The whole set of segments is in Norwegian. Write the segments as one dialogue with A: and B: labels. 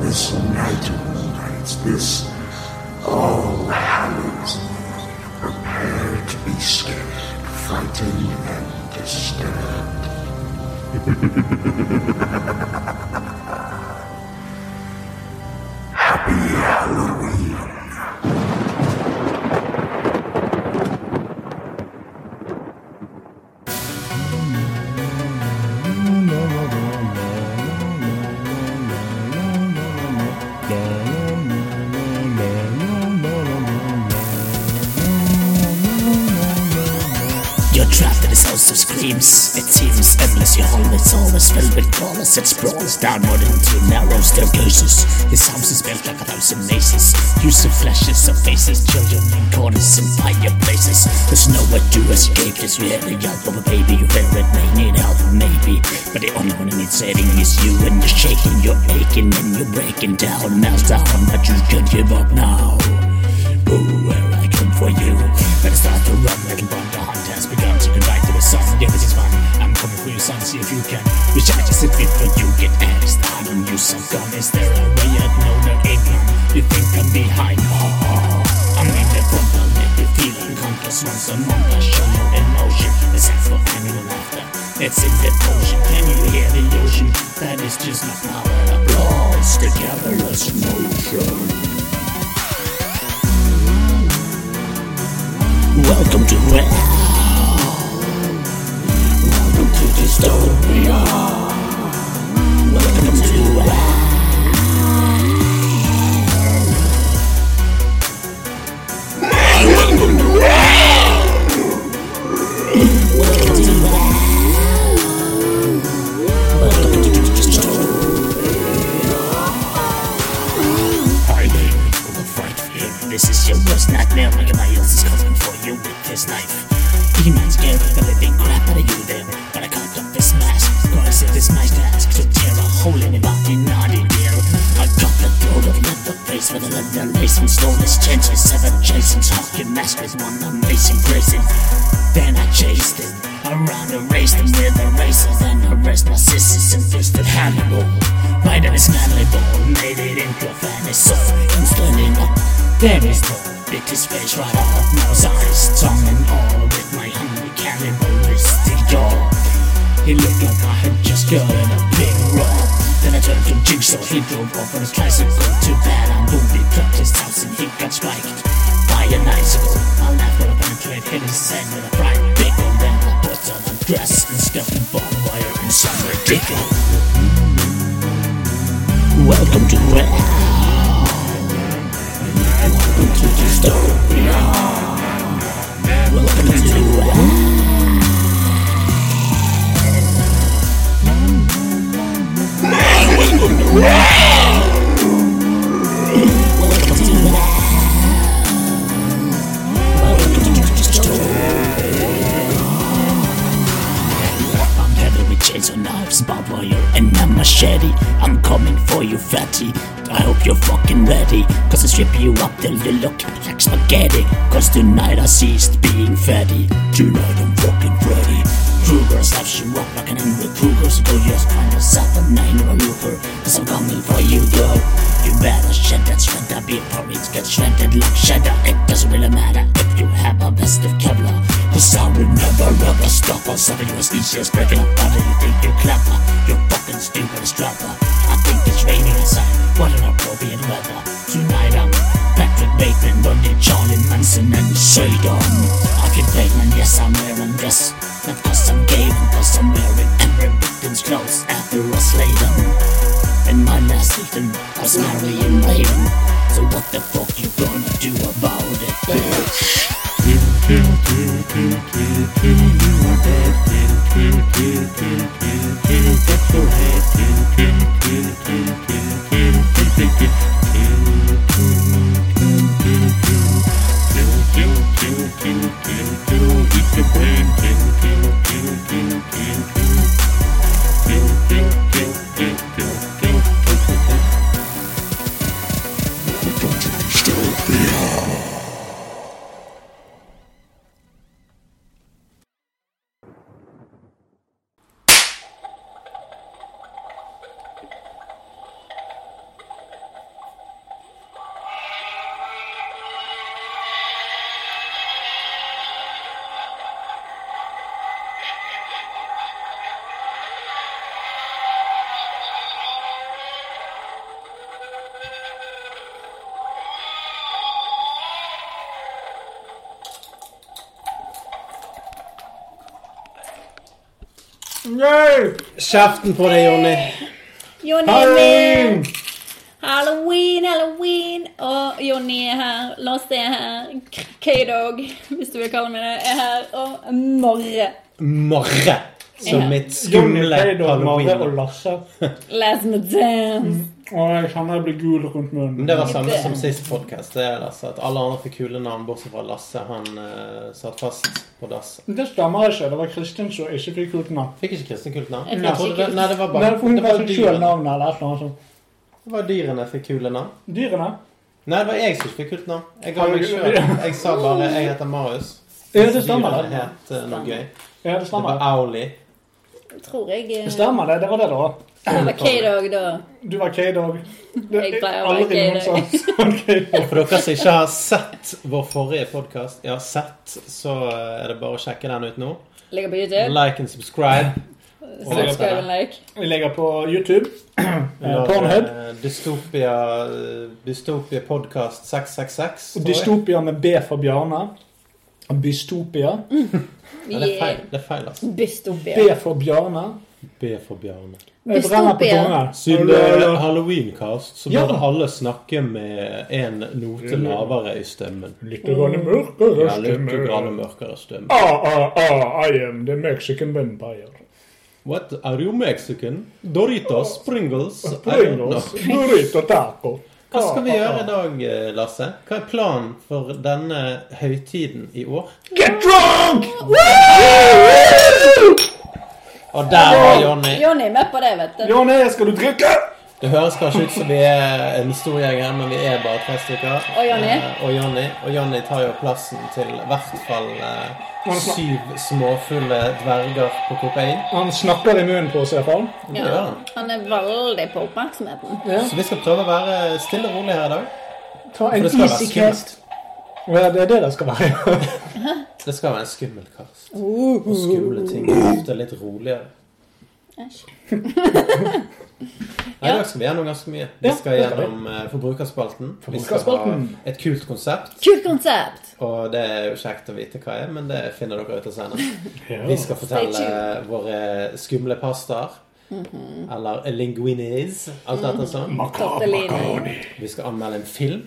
A: this night moonlights, this all hallows. Prepare to be scared, frightened, and disturbed. Happy Halloween.
B: You're trapped in this house of screams. It seems endless. Your home is always filled with crawlers and sprawlers downward into narrow staircases. His house is built like a thousand mazes. Use of flashes of faces, children in corners and fireplaces. There's nowhere to escape this. You hear the yelp of a baby. You hear it may need help, maybe. But the only one who needs saving is you. And you're shaking, you're aching, and you're breaking down. Meltdown, but you should give up now. Ooh, where I come for you. Better start to run, little bun. The hunt has begun. So goodbye to the sun. Yeah, this is fun. I'm coming for your son. See if you can. Wish I just a bit, but you get asked. I don't use some gun. Is there a way out? No, there ain't none. You think I'm behind? Oh, oh. I'm in the front. I'll make you feel unconscious once a month. I show no emotion. Except for animal laughter. It's in the ocean. Can you hear the ocean? That is just my power. Applause. Together, let's motion. Welcome to hell. Welcome to dystopia. Welcome to hell. Welcome to hell. Welcome to dystopia. hiding from the fight fear. This is your worst nightmare, like my else is coming for you with this knife. Demons scare the living crap out of you there, but I can't dump this mask. Cause it is my task to tear a hole in your body, naughty dear. I got the throat of leather face with a leather lace and stolen's changes. Seven Jason's hockey mask with one amazing grazing. Then I chased him around and raced him with a razor. Then I raised my sisters and fisted Hannibal. Right in his manly ball, made it into a fantasy. I'm standing up, there is no bit his face right off, nose, eyes, tongue, and all. With my hungry cannibalistic jaw. He looked like I had just got in a big roll. Then I turned to Jigsaw, he drove off on his tricycle. Too bad I'm wounded, trapped his house, and he got spiked by an icicle. I'll not go penetrate, hit his head with a fried pickle. Then I put on a dress and stuffed the barbed wire in some ridiculous. Welcome to hell. Welcome to dystopia. Welcome to hell. Welcome to hell. Welcome to dystopia. I'm heavy with chains and knives, barbed wire, and a machete. I'm coming for you, fatty. I hope you're fucking ready. Cause I strip you up till you look like spaghetti. Cause tonight I ceased being fatty. Tonight I'm fucking Freddy. Kruger slaps you up like an angry Kruger. So go just find yourself a nine or a looper. Cause I'm coming for you, girl. You better shed that shredder before it gets shredded like cheddar. It doesn't really matter if you have a vest of Kevlar. Cause I will never ever stop us. Some of you are easier breaking up body. You think you're clever, you're fucking stupid as clever. I think it's raining outside. What an appropriate weather. Tonight I'm Patrick Bateman, Bundy, Charlie Manson, and Sheldon. Arcade Bateman, yes, I'm wearing dress. Not cause I'm gay, but cause I'm wearing every victim's clothes after I slay them. And my last victim was Marion Raven. So what the fuck you gonna do about it, bitch?
C: Kjeften på deg, Jonny.
D: Jonny er med. Halloween, halloween. Og Jonny er her. Lars er her. K-Dog, hvis du vil kalle meg det, er her. Og Morre.
C: Marre. Som
D: Ja.
C: mitt
E: Johnny
C: skumle
E: Paydoll, Mare og
C: halloween.
E: Lasse.
D: Last me dance.
E: Og jeg kjenner jeg blir gul rundt munnen.
C: Men Det var samme som sist podcast, det er Lasse. At alle andre fikk kule navn, bortsett fra Lasse. Han eh, satt fast på dass.
E: Det stemmer ikke. Det var Kristin som ikke fikk ut navn.
C: Fikk ikke Kristin kult navn?
D: Jeg fikk
C: Jeg trodde
D: ikke
C: det, nei, det var
E: Nei,
C: bare
E: for hun
C: det
E: var
C: var
E: seg sjøl
C: dyrene.
E: navnet eller et eller annet sånt.
C: Det var dyrene fikk kule navn.
E: Dyrene?
C: Nei, det var jeg som fikk kult navn. Jeg ga
E: Har
C: meg
E: du-
C: sjøl. Jeg sa bare 'jeg heter Marius'.
E: Ja, det stemmer
C: Dyrene
E: det.
C: het eh, noe gøy.
E: Ja, det
C: Det var
E: stemmer.
C: Auli.
D: Tror jeg
E: Det
D: eh,
E: stemmer det. Det var det, da.
D: Det var K-Dog, da.
E: Du var K-Dog. Det
D: Jeg
E: er
D: pleier å være
E: aldri noen
D: K-Dog.
E: som sa K-Dog.
C: For dere som ikke har sett vår forrige podkast, ja, sett, så eh, er det bare å sjekke den ut nå.
D: Ligger på YouTube.
C: Like and subscribe.
D: Subscribe and like.
E: Vi ligger på YouTube.
C: Under,
E: Pornhub.
C: eh, Dystopia, eh, dystopia podcast 666.
E: Og
C: tror jeg.
E: Dystopia med B for Bjarne. Bystopia.
C: Nei, det er
D: Yeah.
C: feil. Det er feil, altså.
E: B
D: Dystopia.
E: for Bjarne.
C: B for Bjarne.
E: Jeg brenner på
D: Dystopia.
E: tunga.
C: Siden det er eh, halloweencast, så burde
E: Ja.
C: alle snakke med en note lavere i stemmen.
E: Litt altså. grann mørkere
C: Ja, litt grann mørkere stemme.
E: Ah, ah, ah, I am the Mexican vampire.
C: What? Are you Mexican? Doritos? Pringles? I don't know.
E: Ah, Pringles, burrito, taco.
C: Hva skal vi
E: Ah, ah,
C: gjøre i
E: ah.
C: dag, eh, Lasse? Hva er planen for denne høytiden i år?
E: Get drunk!
C: Og der var Jonny.
D: Jonny er med på det, vet du.
E: Jonny, skal du drikke?
C: Det høres kanskje ut som vi er en stor gjeng her, men vi er bare tre stykker.
D: Og Jonny.
C: Eh, og Jonny. Og Jonny tar jo plassen til i hvert fall eh, syv småfulle dverger på kokain.
E: Han snakker i munnen på oss i hvert fall.
D: Ja. Han er veldig på oppmerksomheten.
E: Ja.
C: Så vi skal prøve å være stille og rolig her i dag.
E: Ta en
C: det skal være
E: easy
C: skummelt.
E: cast. Ja, det er det det skal være.
C: Det skal være en skummel kast. Og skumle ting er ofte litt roligere.
D: Æsj.
C: Nei, I dag skal vi gjennom ganske mye. Vi
E: Ja, det
C: skal
E: skal vi.
C: gjennom eh, Forbrukerspalten. Vi skal ha
E: Forbrukerspalten.
C: et kult konsept,
D: Kult konsept.
C: og det er jo kjekt å vite hva er, men det finner dere ut av senere. Vi skal
D: Stay
C: fortelle våre skumle pastaer. Eller linguines. Alt dette sånn.
D: Tortellini.
C: Vi skal anmelde en film.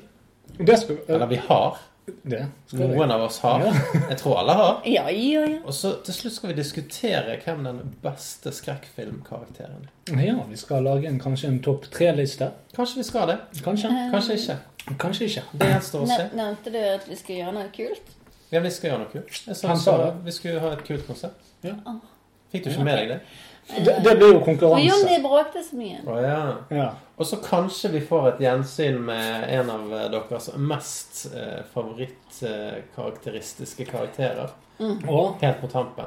E: Det skal vi.
C: Eller vi har.
E: Det skal vi.
C: Noen av oss har. Jeg tror alle har.
D: Ja, ja, ja.
C: Og så til slutt skal vi diskutere hvem den beste skrekkfilmkarakteren er.
E: Ja, vi skal lage en, kanskje en topp tre-liste.
C: Kanskje vi skal det.
E: Kanskje.
C: Kanskje ikke.
E: Kanskje ikke.
C: Det gjenstår å se.
D: Ne- Nevnte du at vi skulle gjøre noe kult?
C: Ja, vi skal gjøre noe kult. Jeg sa,
E: Han sa det.
C: Vi skulle ha et kult konsept.
E: Ja.
C: Fikk du ikke med deg det?
E: Det, det blir jo
D: Og Jonny
E: konkurranse.
D: bråkte så mye.
C: Å, ja.
E: Ja.
C: Og så kanskje vi får et gjensyn med en av eh, deres mest eh, favorittkarakteristiske karakterer.
E: Og,
C: Helt på tampen.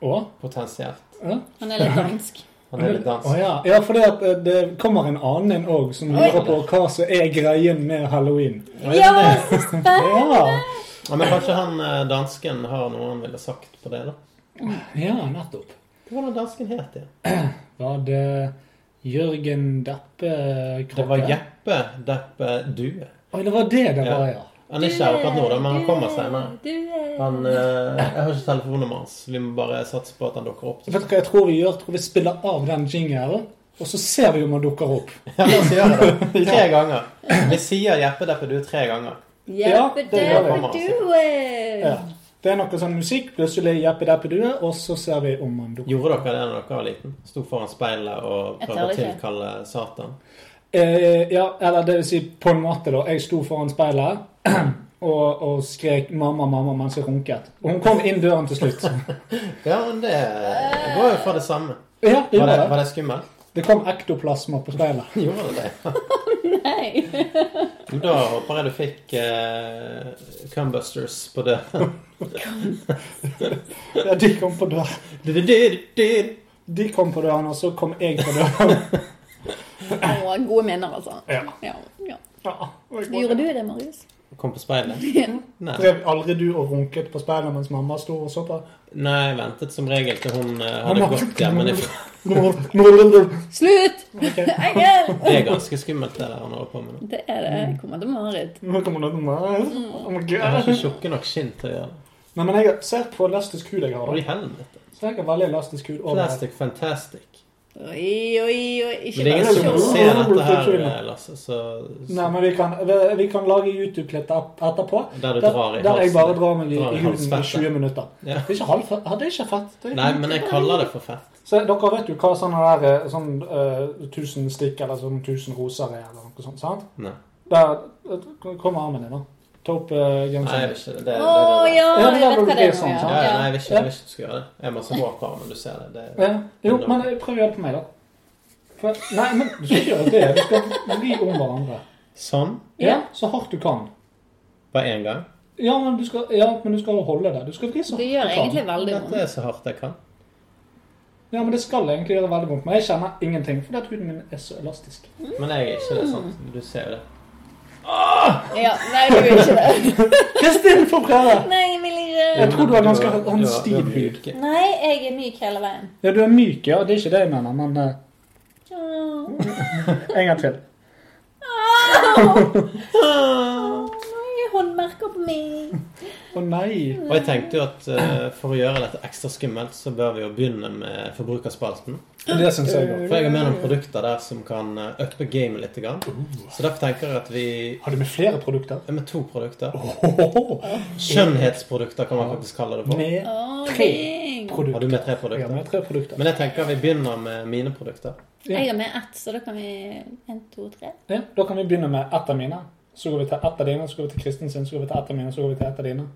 E: og,
C: Potensielt.
E: ja.
D: Han er litt dansk.
C: Han er litt
E: Å
C: dansk.
E: ja. ja, for det, at, eh, det kommer en annen inn òg som lurer på hva som er greien med halloween.
D: Ja, så spennende!
E: Ja,
C: Ja, men kanskje han eh, dansken har noe han ville sagt på det, da?
E: ja nettopp.
C: Hva var den dansken het igjen?
E: Var det Jørgen Deppe Kroppe?
C: Det var Jeppe Deppe Due.
E: Oi, det var det det
C: Ja.
E: var, ja.
C: Han er ikke her akkurat nå, da, men han kommer
D: Du er-
C: senere.
D: Du er
C: Han, eh, jeg har ikke telefonnummeret hans. Vi må bare satse på at han dukker opp.
E: Vet du hva jeg tror vi gjør? Jeg tror vi spiller av den jingeren, og så ser vi om han dukker opp.
C: Ja, la oss gjøre det. Tre ganger. Vi sier Jeppe Deppe Due tre ganger.
D: Jeppe,
E: det gjør
C: vi.
D: Deppe, du er
E: Ja. Det er noe sånn musikk, plutselig Jeppe Deppe Due, og så ser vi om han dukker opp.
C: Gjorde dere det da dere var liten? Sto foran speilet og
D: Jeg
C: prøvde
D: tør
C: å
D: ikke.
C: tilkalle Satan?
E: Eh, ja, eller det vil si på en måte, da. Jeg sto foran speilet. Og, og skrek 'mamma, mamma' mens jeg runket. Og hun kom inn døren til slutt.
C: Ja, men det
D: Eh.
C: går jo for det samme.
E: Ja, det
C: Var det,
E: gjorde det.
C: var det skummelt?
E: Det kom ektoplasma på speilet.
C: Gjorde det det?
D: Nei.
C: Men Da håper jeg du fikk eh, Cumbusters på døren.
E: Ja, de kom på døren.
C: Hva
E: De kom på døren, og så kom jeg på døren.
D: Å, gode minner, altså.
E: Ja.
D: Ja, ja.
E: Ja,
D: Gjorde du det, Marius?
C: Kom på speilet? Nei.
E: Drev aldri du og runket på speilet mens mamma sto og så på?
C: Nei, jeg ventet som regel til hun eh, hadde
E: Mamma.
C: gått hjemmefra.
D: Slutt! Engel!
C: Det er ganske skummelt, det der han holder på med nå.
D: Det er det. Jeg kommer til Marit.
E: Nå kommer det noe mer. Oh my
C: Jeg har
E: god.
C: ikke tjukke nok skinn til å gjøre det.
E: Nei, men jeg ser på elastisk hud jeg har.
C: Hold i
E: da.
C: helvete.
E: Så jeg har veldig elastisk hud over.
C: Plastic fantastic.
D: Oi, oi, oi. Ikke
C: Men det er ingen som
E: bare
D: kjole.
C: ser
E: kjole.
C: dette her, eh, Lasse, så,
E: Nei,
C: så
E: men vi kan, vi- vi kan lage YouTube-klipp et- etterpå.
C: Der du
E: der,
C: drar i
E: der jeg
C: halsen.
E: bare drar meg i,
C: Drar i
E: i huden i
C: halsfettet.
E: 20 minutter. Det
C: Ja.
E: er ikke halvfett. Ja, det er ikke fett. Det er
C: Nei, men jeg kaller det for fett.
E: Så dere vet jo hva sånne der, eh, sånn eh, 1000 stikk eller sånn 1000 roser er, eller noe sånt, sant?
C: Nei,
E: Der eh, kommer armen din, da. Ta opp eh,
C: nei jeg
E: genseren.
C: vil ikke det. det, det,
D: Å ja,
E: Ja,
D: jeg
E: men da
D: vet
E: burde
D: hva det
E: det
D: er.
E: bli sånn,
C: Ja,
E: sant?
D: ja.
C: ja, nei, jeg vil ikke, jeg vil ikke du skal gjøre det. Jeg har masse hår på armen, du ser det. det
E: Ja. Jo, men eh, prøv å gjøre det på meg, da. For, nei, men du skal ikke gjøre det. Vi skal vri om hverandre.
C: sånn,
E: Ja, så hardt du kan.
C: bare én gang.
E: Ja, men du skal, ja, men du skal holde det. Du skal vri så hardt
D: Det gjør
C: Sånn.
E: du
D: egentlig
E: kan.
D: veldig
C: Dette
D: vondt.
C: er så hardt jeg kan.
E: Ja, men det skal egentlig gjøre veldig vondt. Men jeg kjenner ingenting, fordi at huden min er så elastisk.
C: Men jeg er ikke det, sant? Du ser jo det.
D: Ja, nei, du vil ikke det.
E: Kristin, få prøve!
D: Nei, jeg vil ikke.
E: Jeg tror du har ganske
C: Du
E: sånn
C: du du
E: stiv
C: mye
E: hud.
C: ikke.
D: Nei, jeg er myk hele veien.
E: Ja, du er myk, ja. Det er ikke det jeg mener, men eh,
D: Åh,
E: en gang til.
D: nei, Håndmerker på meg.
E: Å nei.
C: Og jeg tenkte jo at eh, for å gjøre dette ekstra skummelt, så bør vi jo begynne med forbrukerspalten.
E: Det syns jeg òg.
C: For jeg har med noen produkter der som kan eh, uppe gamet litt. Grann. Så derfor tenker jeg at vi
E: Har du med flere produkter?
C: ja, Med to produkter.
E: Ohoho.
C: Skjønnhetsprodukter kan man faktisk kalle det for.
E: Med
D: Åh,
E: Tre.
D: ding.
C: Har du
E: produkter.
C: med tre
E: Jeg har
C: produkter?
E: med tre produkter.
C: Men jeg tenker vi begynner med mine produkter.
D: Jeg har med ett, så da kan vi En, to, tre.
E: Ja, da kan vi begynne med ett av mine. Så går vi til ett av dine, så går vi til Kristin sin, så går vi til ett av mine, så går vi til ett av dine.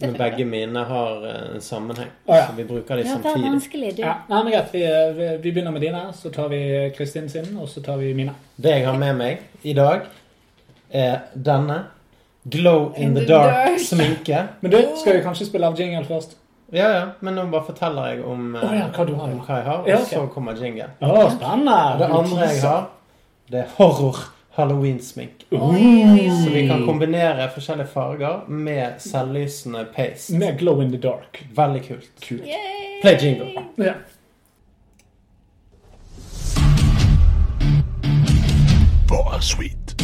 C: Men begge mine har eh, en sammenheng,
E: Å, ja.
C: så vi bruker de
D: Ja, det er
C: samtidig.
D: vanskelig, du.
E: Ja, nei, men greit. Vi, vi, vi begynner med dine, så tar vi Kristin sin, og så tar vi mine.
C: Det jeg har med meg i dag, er denne. Glow in the dark-sminke.
E: Men du, skal vi kanskje spille av jingle først?
C: Ja, ja, men nå bare forteller jeg om, eh,
E: Å ja, hva du har, ja.
C: om hva jeg har, og
E: Ja, ok.
C: så kommer jingle.
E: Å, spennende!
C: Og det andre jeg har, det er horror-halloween-sminke. Så vi
E: Mm.
C: kan kombinere forskjellige farger med selvlysende paste.
E: Med glow in the dark.
C: Veldig kult.
D: Yay!
C: Play jingle.
E: Ja.
A: Bare sweet.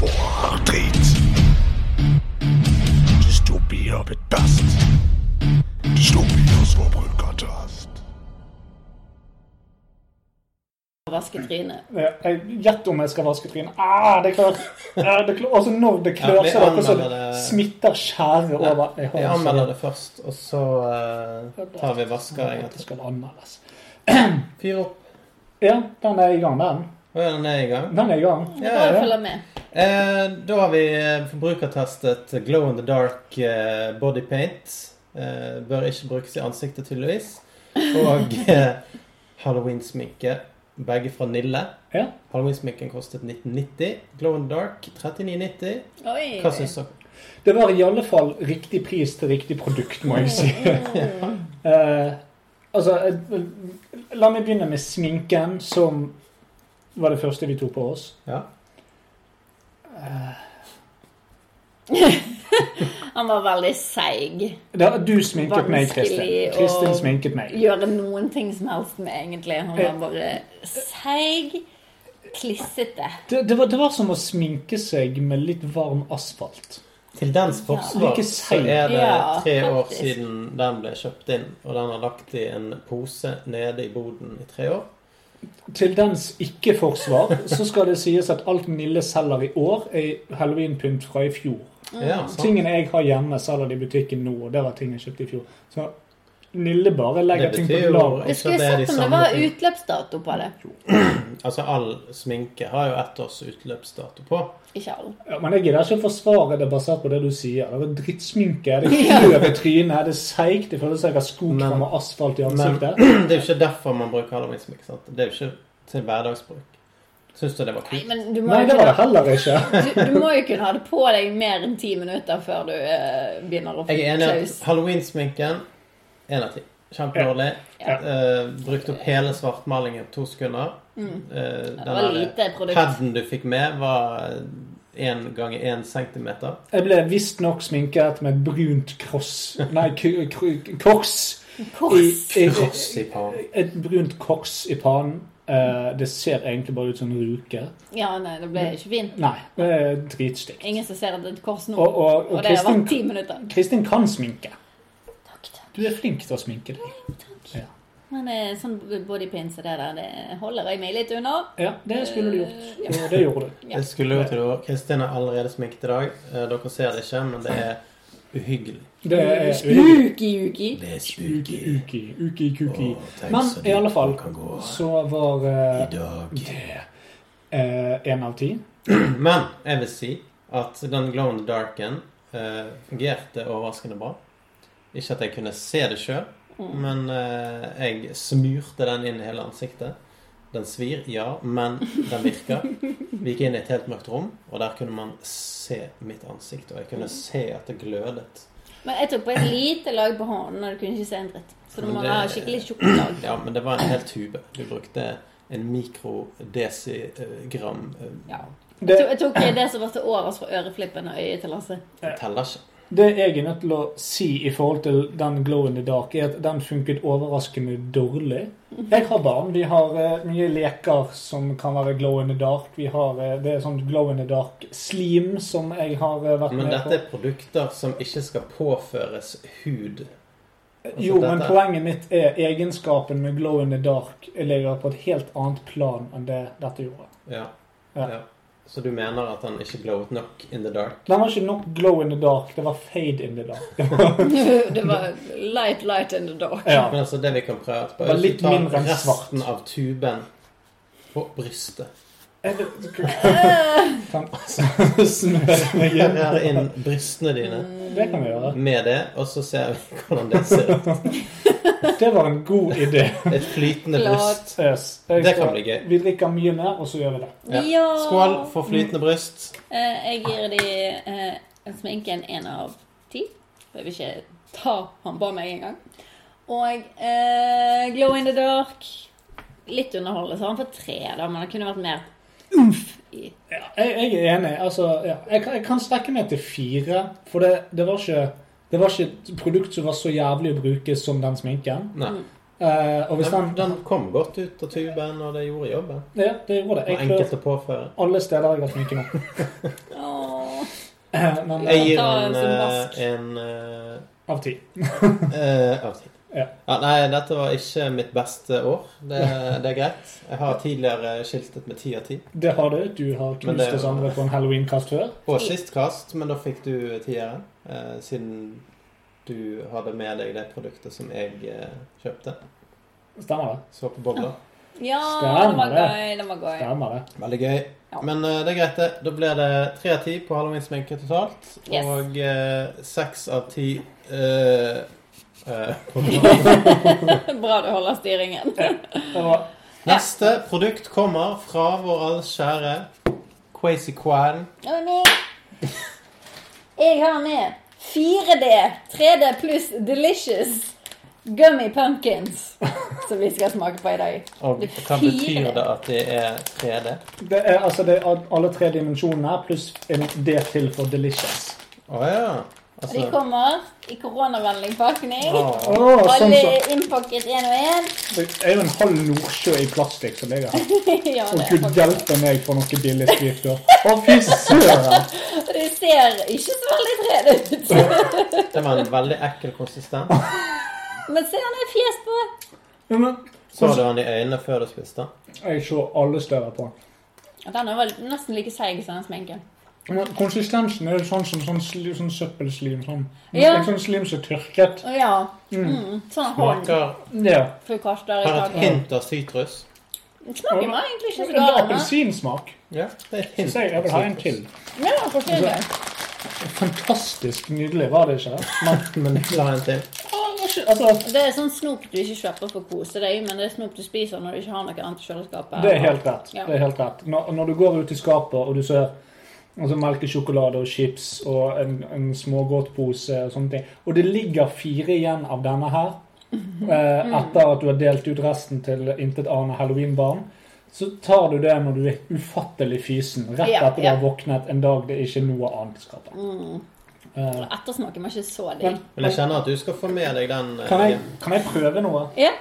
A: Bare drit. Dystopier bedast. Dystopier som bruker tast.
D: Vaske trynet.
E: Ja, jeg- Gjett om jeg skal vaske trynet. Ah, det klør! Ah, det klør. Også når det klør,
C: Ja, vi
E: så er det akkurat som
C: anmelder det-
E: smitter skjæret over. Jeg altså
C: Jeg anmelder det først, og så eh, tar vi vasker en gang
E: Det
C: til.
E: skal anmeldes.
C: Fyr opp.
E: Ja, den er i gang, den.
C: Å ja, den er i gang.
E: Den er i gang.
D: Da må du følge med.
C: Eh, da har vi eh, forbrukertestet Glow in the Dark eh, Body Paint. Eh, bør ikke brukes i ansiktet, tydeligvis. Og eh, Halloween-sminke. Begge fra Nille.
E: Ja.
C: Halloween-sminken kostet 1990. Glow in the Dark 3990.
D: Oi.
C: Hva syns dere?
E: Det var i alle fall riktig pris til riktig produkt, må jeg si. Eh, altså, eh, la meg begynne med sminken, som var det første vi tok på oss.
C: Ja.
D: Han var veldig seig.
E: Da, du sminket meg, Kristin.
D: Vanskelig å-
E: Kristin sminket meg.
D: Gjøre noen ting som helst med, egentlig. Han var bare seig, klissete.
E: Det, det, var, det var som å sminke seg med litt varm asfalt.
C: Til dens forsvar
E: Like
C: så
E: seig.
C: er det
D: Ja,
C: tre år
D: faktisk.
C: siden den ble kjøpt inn, og den har lagt i en pose nede i boden i tre år.
E: Til dens ikke-forsvar så skal det sies at alt Nille selger i år, er halloweenpynt fra i fjor.
D: Mm.
C: Ja, sant?
E: Tingene jeg har hjemme, selger de i butikken nå, og det var ting jeg kjøpte i fjor. Så Nille bare
C: Det
E: legger ting på
C: betyr jo
E: lager.
D: Du
C: ikke
D: skulle sett
C: at det er de
D: om det
C: samme
D: var
C: tingene.
D: utløpsdato på det.
C: Altså, all sminke har jo ett års utløpsdato på.
D: Ikke alle.
E: Ja, men jeg gidder ikke å forsvare det basert på det du sier. Det var drittsminke, det klør i trynet, det er seigt, det føles som jeg har skokram
C: Men-
E: og asfalt i
C: Men det
E: ansiktet.
C: er jo ikke derfor man bruker halloweensminke. sant? Det er jo ikke til hverdagsbruk. Syns du det var
D: Nei,
C: kult?
D: men du må,
E: Nei,
D: jo
E: det var det
D: kunne,
E: heller ikke.
D: du, du må jo kunne ha det på deg mer enn ti minutter før du eh, begynner å få
C: Jeg er enig i
D: klaus.
C: at halloweensminken én av ti. Kjempedårlig.
D: Ja.
C: Eh, brukte opp hele svartmalingen på to sekunder. Eh, den
D: Mm. Det var lite
C: der
D: produkt.
C: paden du fikk med, var én ganger én centimeter.
E: Jeg ble visstnok sminket med brunt kross Nei, k- k- kors I,
D: Kors.
E: i,
C: Kross i pannen.
E: et brunt kors i pannen. Eh, det ser egentlig bare ut som en ruke.
D: Ja, nei, det ble ikke fint.
E: Nei, det er dritstygt.
D: Ingen som ser at det er et kors nå.
E: Og, og, og
D: Og det har
E: Kristin,
D: vært ti minutter.
E: Kristin kan sminke.
D: Takk, takk.
E: Du er flink til å sminke deg. Ja.
D: Men eh, sånn bodypins og det der, det holder jeg meg litt unna.
E: Ja, det skulle du gjort. Og det gjorde du.
D: Ja.
C: Jeg skulle jo til det også. Kristin er allerede sminket i dag. Eh, Dere ser det ikke, men det er uhyggelig.
E: Det er
D: Spooky, uki.
A: Det er
E: uki, uki, kuki.
A: tenk
E: Men
A: så
E: i alle
A: dypt
E: fall
A: du kan gå.
E: så var eh,
A: dag.
E: det eh, en av ti.
C: Men jeg vil si at den glow in the darken eh, fungerte overraskende bra. Ikke at jeg kunne se det sjøl,
D: Mm.
C: men eh, jeg smurte den inn i hele ansiktet. Den svir, ja, men den virker. Vi gikk inn i et helt mørkt rom, og der kunne man se mitt ansikt. Og jeg kunne se at det glødet.
D: Men jeg tok på et lite lag på hånden, og du kunne ikke se en dritt. Så du
C: Men
D: må
C: det-
D: ha skikkelig tjukke lag.
C: Ja, men det var en hel tube. Du brukte en mikrodesigram. eh,
D: Ja.
E: Det,
D: Jeg tok jeg tok det som var til overs fra øreflippen og øyet til Lasse.
C: Teller ikke.
E: det jeg er nødt til å si i forhold til den Glow in the Dark, er at den funket overraskende dårlig. Jeg har barn. Vi har eh, mye leker som kan være Glow in the Dark. Vi har, eh, det er sånn Glow in the Dark-slim som jeg har eh, vært
C: Men
E: med
C: dette er produkter som ikke skal påføres hud.
E: på. Jo, men
C: Altså, dette-
E: poenget mitt er egenskapen med Glow in the Dark ligger på et helt annet plan enn det dette gjorde.
C: Ja.
E: Ja.
C: ja. Så du mener at han ikke glowet nok in the dark?
E: Den var ikke nok glow in the dark, det var fade in the dark.
D: Det var light, light in the dark.
E: Ja.
C: Men altså, det vi kan prøve etterpå,
E: Bare
C: er
E: litt
C: å ta
E: mindre enn svart.
C: resten av tuben på brystet.
E: Kan smøre meg igjen.
C: Her inn brystene dine
E: Det kan vi gjøre.
C: med det, og så ser vi hvordan det ser ut.
E: Det var en god idé.
C: Et flytende
D: Klart.
C: bryst.
E: Yes. Jeg
C: Det kan
E: skal-
C: bli gøy.
E: Vi drikker mye mer, og så gjør vi det.
C: Ja. Skål for flytende bryst.
D: Eh, Jeg gir de eh, sminken én av ti. Jeg vil ikke ta han ba meg engang. Og eh, Glow in the Dark Litt underholdende, så han får tre, da, men det kunne vært mer umf i.
E: Ja, jeg, jeg er enig. Altså, ja. jeg, kan- jeg kan strekke meg til fire, for det, det, var ikke, det var ikke et produkt som var så jævlig å bruke som den sminken.
C: Nei.
D: Mm.
E: Eh, og hvis den,
C: Den, den kom godt ut av tuben, og det gjorde jobben.
E: Ja, det gjorde det.
C: Det var
E: Jeg
C: enkelt
E: klør
C: å påføre.
E: alle steder jeg har sminken nå.
D: Åh.
E: Eh, Men
C: Jeg
E: eh,
C: gir
D: Ta
C: den
D: en sånn
C: eh,
D: vask.
C: en eh,
E: av ti.
C: Eh, av tid.
E: Ja.
C: Ja, nei, dette var ikke mitt beste år. Det, det er greit. Jeg har tidligere skiltet med ti av ti.
E: Det har du. Du har
C: Men det-
E: knust oss andre på en halloween-kast før.
C: Og sist kast, men da fikk du tieren. Eh, siden du hadde med deg det produktet som jeg eh, kjøpte.
E: Stemmer det?
C: Så på bobler.
D: Ja,
E: Stemmer
D: den var
E: det.
D: gøy. Den var gøy.
E: Stemmer det.
C: Veldig gøy.
D: Ja.
C: Men eh, det er greit, det. Da blir det tre av ti på halloweensminke totalt.
D: Yes.
C: Og eh, seks av ti eh, eh, på bobler.
D: Bra du holder styringen.
E: Det var
C: Neste produkt kommer fra vår alles kjære Quasi Quan.
D: Ja, men jeg, jeg har med 4D, 3D pluss Delicious Gummy Pumpkins. Som vi skal smake på i dag.
C: Og
D: Det
C: hva
D: fire.
C: betyr det at det er 3D?
E: Det er altså det er alle tre dimensjonene her, pluss en D til for delicious.
C: Å ja.
D: Og de
C: Altså,
D: kommer i koronavennlig pakning.
E: Å,
C: å,
E: sånn
D: Alle
E: så.
D: er innpakket én og én.
E: Det er jo en halv Nordsjø i plastikk som ligger her.
D: Ja,
E: Og
D: det er
E: gud
D: faktisk-
E: hjelpe meg for noe billig skrift. da. Å, fy søren!
D: Og det ser ikke så veldig 3D ut.
C: det var en veldig ekkel konsistens.
D: Men se, han har fjes på.
E: Ja, men,
C: Så du han i øynene før du spiste?
E: Jeg så alle steder på den.
D: Og Den var nesten like seig som den sminken.
E: Men Konsistensen er jo sånn som sånn, sli, sånn søppelslim. Sånn.
D: Ja.
E: En sånn slim som er tørket.
D: Å ja. Mm. Sånn hånd
C: Smaker
E: Ja.
D: for kaster i
C: har et
D: taket.
C: hint av sitrus.
D: Smaken var egentlig ikke så
E: Det er
D: gal. den, da.
E: appelsinsmak.
C: Ja, det er et hint
E: Så jeg jeg vil ha en
C: av
E: til.
C: sitrus.
D: Men den var forskjellig.
E: Fantastisk nydelig, var det ikke? Men,
C: Men jeg vil ha en til.
E: altså,
D: Det er sånn snop du ikke kjøper for å kose deg, men det er snop du spiser når du ikke har noe annet i kjøleskapet.
E: Det er helt rett.
D: Ja.
E: Det er helt rett. Når, når du går ut i skapet og du ser altså, melkesjokolade og chips og en, en smågodtpose og sånne ting, og det ligger fire igjen av denne her eh, etter at du har delt ut resten til intet annet halloweenbarn, så tar du det når du er ufattelig fysen rett
D: Ja,
E: etter du har
D: ja.
E: Mm. våknet en dag det er ikke er noe annet i skapet. Eh,
D: Ettersmaken var ikke så
E: men,
D: digg.
C: Men jeg kjenner at du skal få med deg den. eh,
E: kan, jeg,
C: hjem.
E: kan jeg prøve noe?
D: Ja.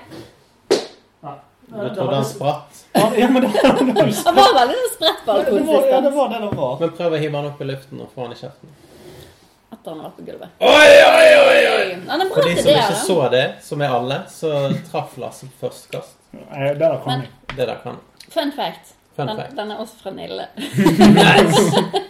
C: Du trodde han spratt.
E: Ja, men det, det, var-
D: Han var veldig
E: det,
D: sånn
E: var, ja, det
D: sprettballkonsistens
E: var det det var.
C: Men prøv å hive han opp i luften og få han i kjeften.
D: etter han var på gulvet.
C: Oi, oi, oi, oi!
D: Han er bra
C: For de
D: til
C: som
D: det.
C: ikke
D: da.
C: så det, som er alle, så traff Lasse på første kast.
E: Nei, det der kan
D: Men-
E: jeg.
C: Det der kan
D: Fun fact.
C: Fun
D: Den,
C: fact.
D: den er også fra Nille.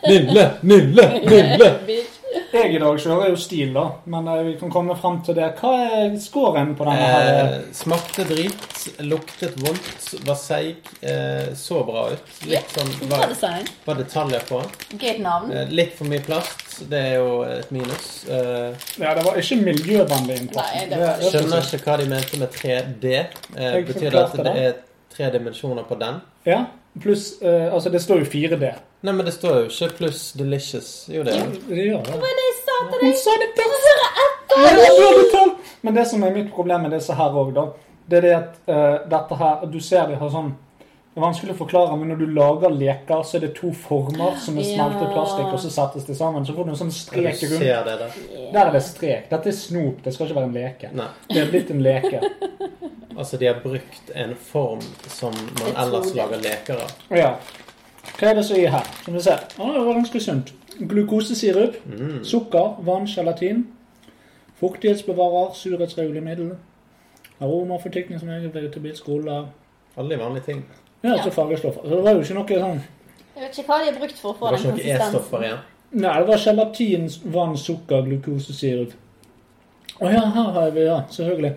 C: Nille, Nille, Nille!
D: Bitch.
E: Jeg i dag kjører jo stil, da. Men eh, vi kan komme fram til det. Hva er scoren på denne her?
C: Eh, smakte drit, luktet vondt, var seig, eh, så bra ut. Litt sånn
D: Bra
C: var,
D: design.
C: var detaljer på den.
D: Gøy navn.
C: Eh, litt for mye plast, det er jo et minus. Eh,
E: Ja, det var ikke miljøvennlig
D: Nei,
E: innpakning.
D: det var det
C: skjønner ikke hva de mente med 3D. Eh,
E: Jeg
C: betyr det
E: forklarte
C: at det er tre dimensjoner på den?
E: Ja, pluss eh, Altså, det står jo 4D.
C: Nei, men det står jo ikke pluss delicious. Jo, det er det.
E: Det gjør det.
D: Men jeg sa til
E: Hun
D: deg
E: sa det best!
D: så er det
E: Ja, det
D: etter!
E: er det tall. Men det som er mitt problem med disse her òg, da, det er det at eh, dette her Du ser de har sånn Det er vanskelig å forklare, men når du lager leker, så er det to former som er smeltet
D: Ja.
E: plastikk, og så settes de sammen. Så får du en sånn
C: Du
E: strek rundt.
C: ser det der.
E: Der er det strek. Dette er snop. Det skal ikke være en leke.
C: Nei.
E: Det er blitt en leke.
C: Altså, de har brukt en form som
D: Jeg
C: man
D: tror
C: ellers
D: det.
C: lager leker av.
E: Ja. Hva er det som er i her? Skal vi se. Å, det var ganske sunt. Glukosesirup,
C: Mm.
E: sukker, vann, gelatin, fuktighetsbevarer, surhetsregulermiddel, aromer, fortykningsmiddel, vegetabilsk rulle
C: Alle de vanlige ting.
E: Ja, altså fargestoffer. Så det var jo ikke noe sånn
D: Jeg vet ikke hva de har brukt for å
C: Det
D: få
C: var
D: den
C: ikke noe
D: konsistensen.
C: E-stoffer igjen.
E: Nei, det var gelatin, vann, sukker, glukosesirup. Å ja, her har vi ja, selvfølgelig.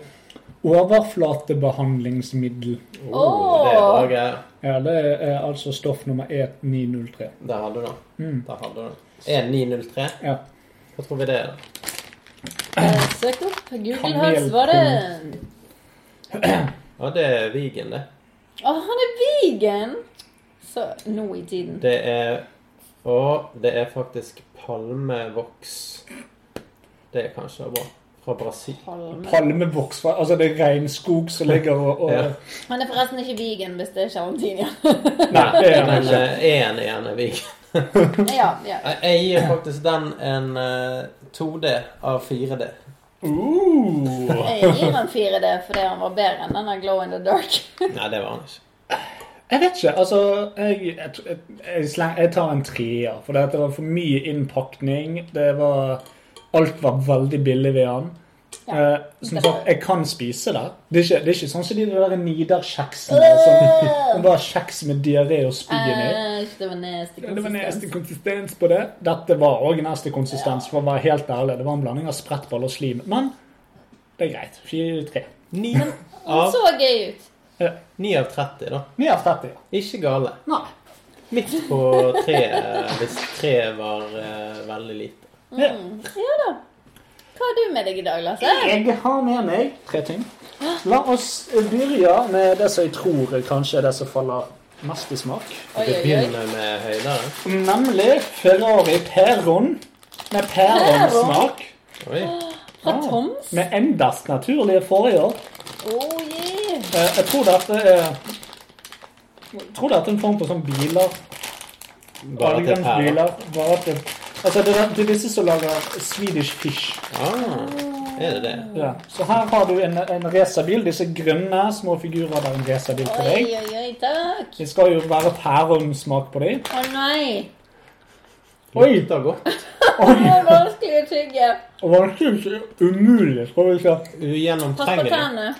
E: Overflatebehandlingsmiddel.
C: Oh, det er bra greier.
E: Ja, det er altså stoff nummer E903.
C: Der hadde du den. Der hadde du den. E 1903.
E: Mm. Ja.
C: Hva tror vi det er? da?
D: Eh, Søk opp Google Hans,
E: Kanel.
D: var det
C: Ja, det er Vigen, det.
D: Å, han er vegan! Så nå i tiden.
C: Det er Og det er faktisk palmevoks. Det er kanskje bra. Fra Brasil.
D: Palme.
E: Palmevoks fra- Altså, det er regnskog som ligger og, og
C: Ja.
D: Han er forresten ikke vegan hvis det er gelatine.
E: Nei, det er han
C: Men
E: ikke.
C: eh, en igjen er Vigen.
D: ja, ja.
C: Nei, Jeg gir faktisk den en eh, 2D av 4D.
E: Uh.
D: Jeg gir han 4D fordi han var bedre enn denne Glow in the Dark.
C: Nei, det var han ikke.
E: Jeg vet ikke. Altså, jeg, jeg, tr- jeg, jeg, sleng, jeg tar en treer. For det var for mye innpakning. Det var Alt var veldig billig ved han.
D: Ja.
E: Eh, som sagt, jeg kan spise det. Det er ikke, det er ikke sånn som de der Nidar-kjeksene. Som, som var kjeks med diaré og spy i.
D: Æsj, det var nasty
E: Det var neste
D: Eh, konsistens.
E: konsistens på det. Dette var òg neste konsistens, for å være helt ærlig. Det var en blanding av sprettball og slim. Men det er greit. Fire-tre.
C: Ni
D: Han
C: av,
D: så gøy ut.
C: ni av 30, da.
E: Ni av 30.
C: Ikke gale.
E: Nei.
C: Midt på treet, hvis treet var eh, veldig lite.
E: Ja.
D: Ja da. Hva har du med deg i dag, Lasse?
E: Jeg har med meg tre ting. La oss begynne med det som jeg tror kanskje er det som faller mest i smak.
D: Oi,
C: Vi
D: oi, oi.
C: begynner med høydere.
E: Nemlig Ferrari Peron med peronsmak.
C: Oi.
D: Fra
E: Ah,
D: Toms?
E: Med endast naturlige forrige.
D: Oh yeah.
E: Eh, Jeg tror dette er jeg tror dette er en form for sånn biler.
C: Bare til pære.
E: Biler, bare til, altså det er, det er disse som lager Swedish fish.
C: Ah, er det det?
E: Ja. Så her har du en, en racerbil. Disse grønne små figurer der en racerbil til
D: Oi,
E: deg.
D: oi, oi, takk.
E: Det skal jo være pæronsmak på dem.
D: Å nei.
E: Oi!
C: Lukter godt.
E: Oi!
D: Det var vanskelig å tygge.
E: Det var ikke umulig, skal vi se.
D: Pass på
C: Ugjennomtrengelig.
D: tennene.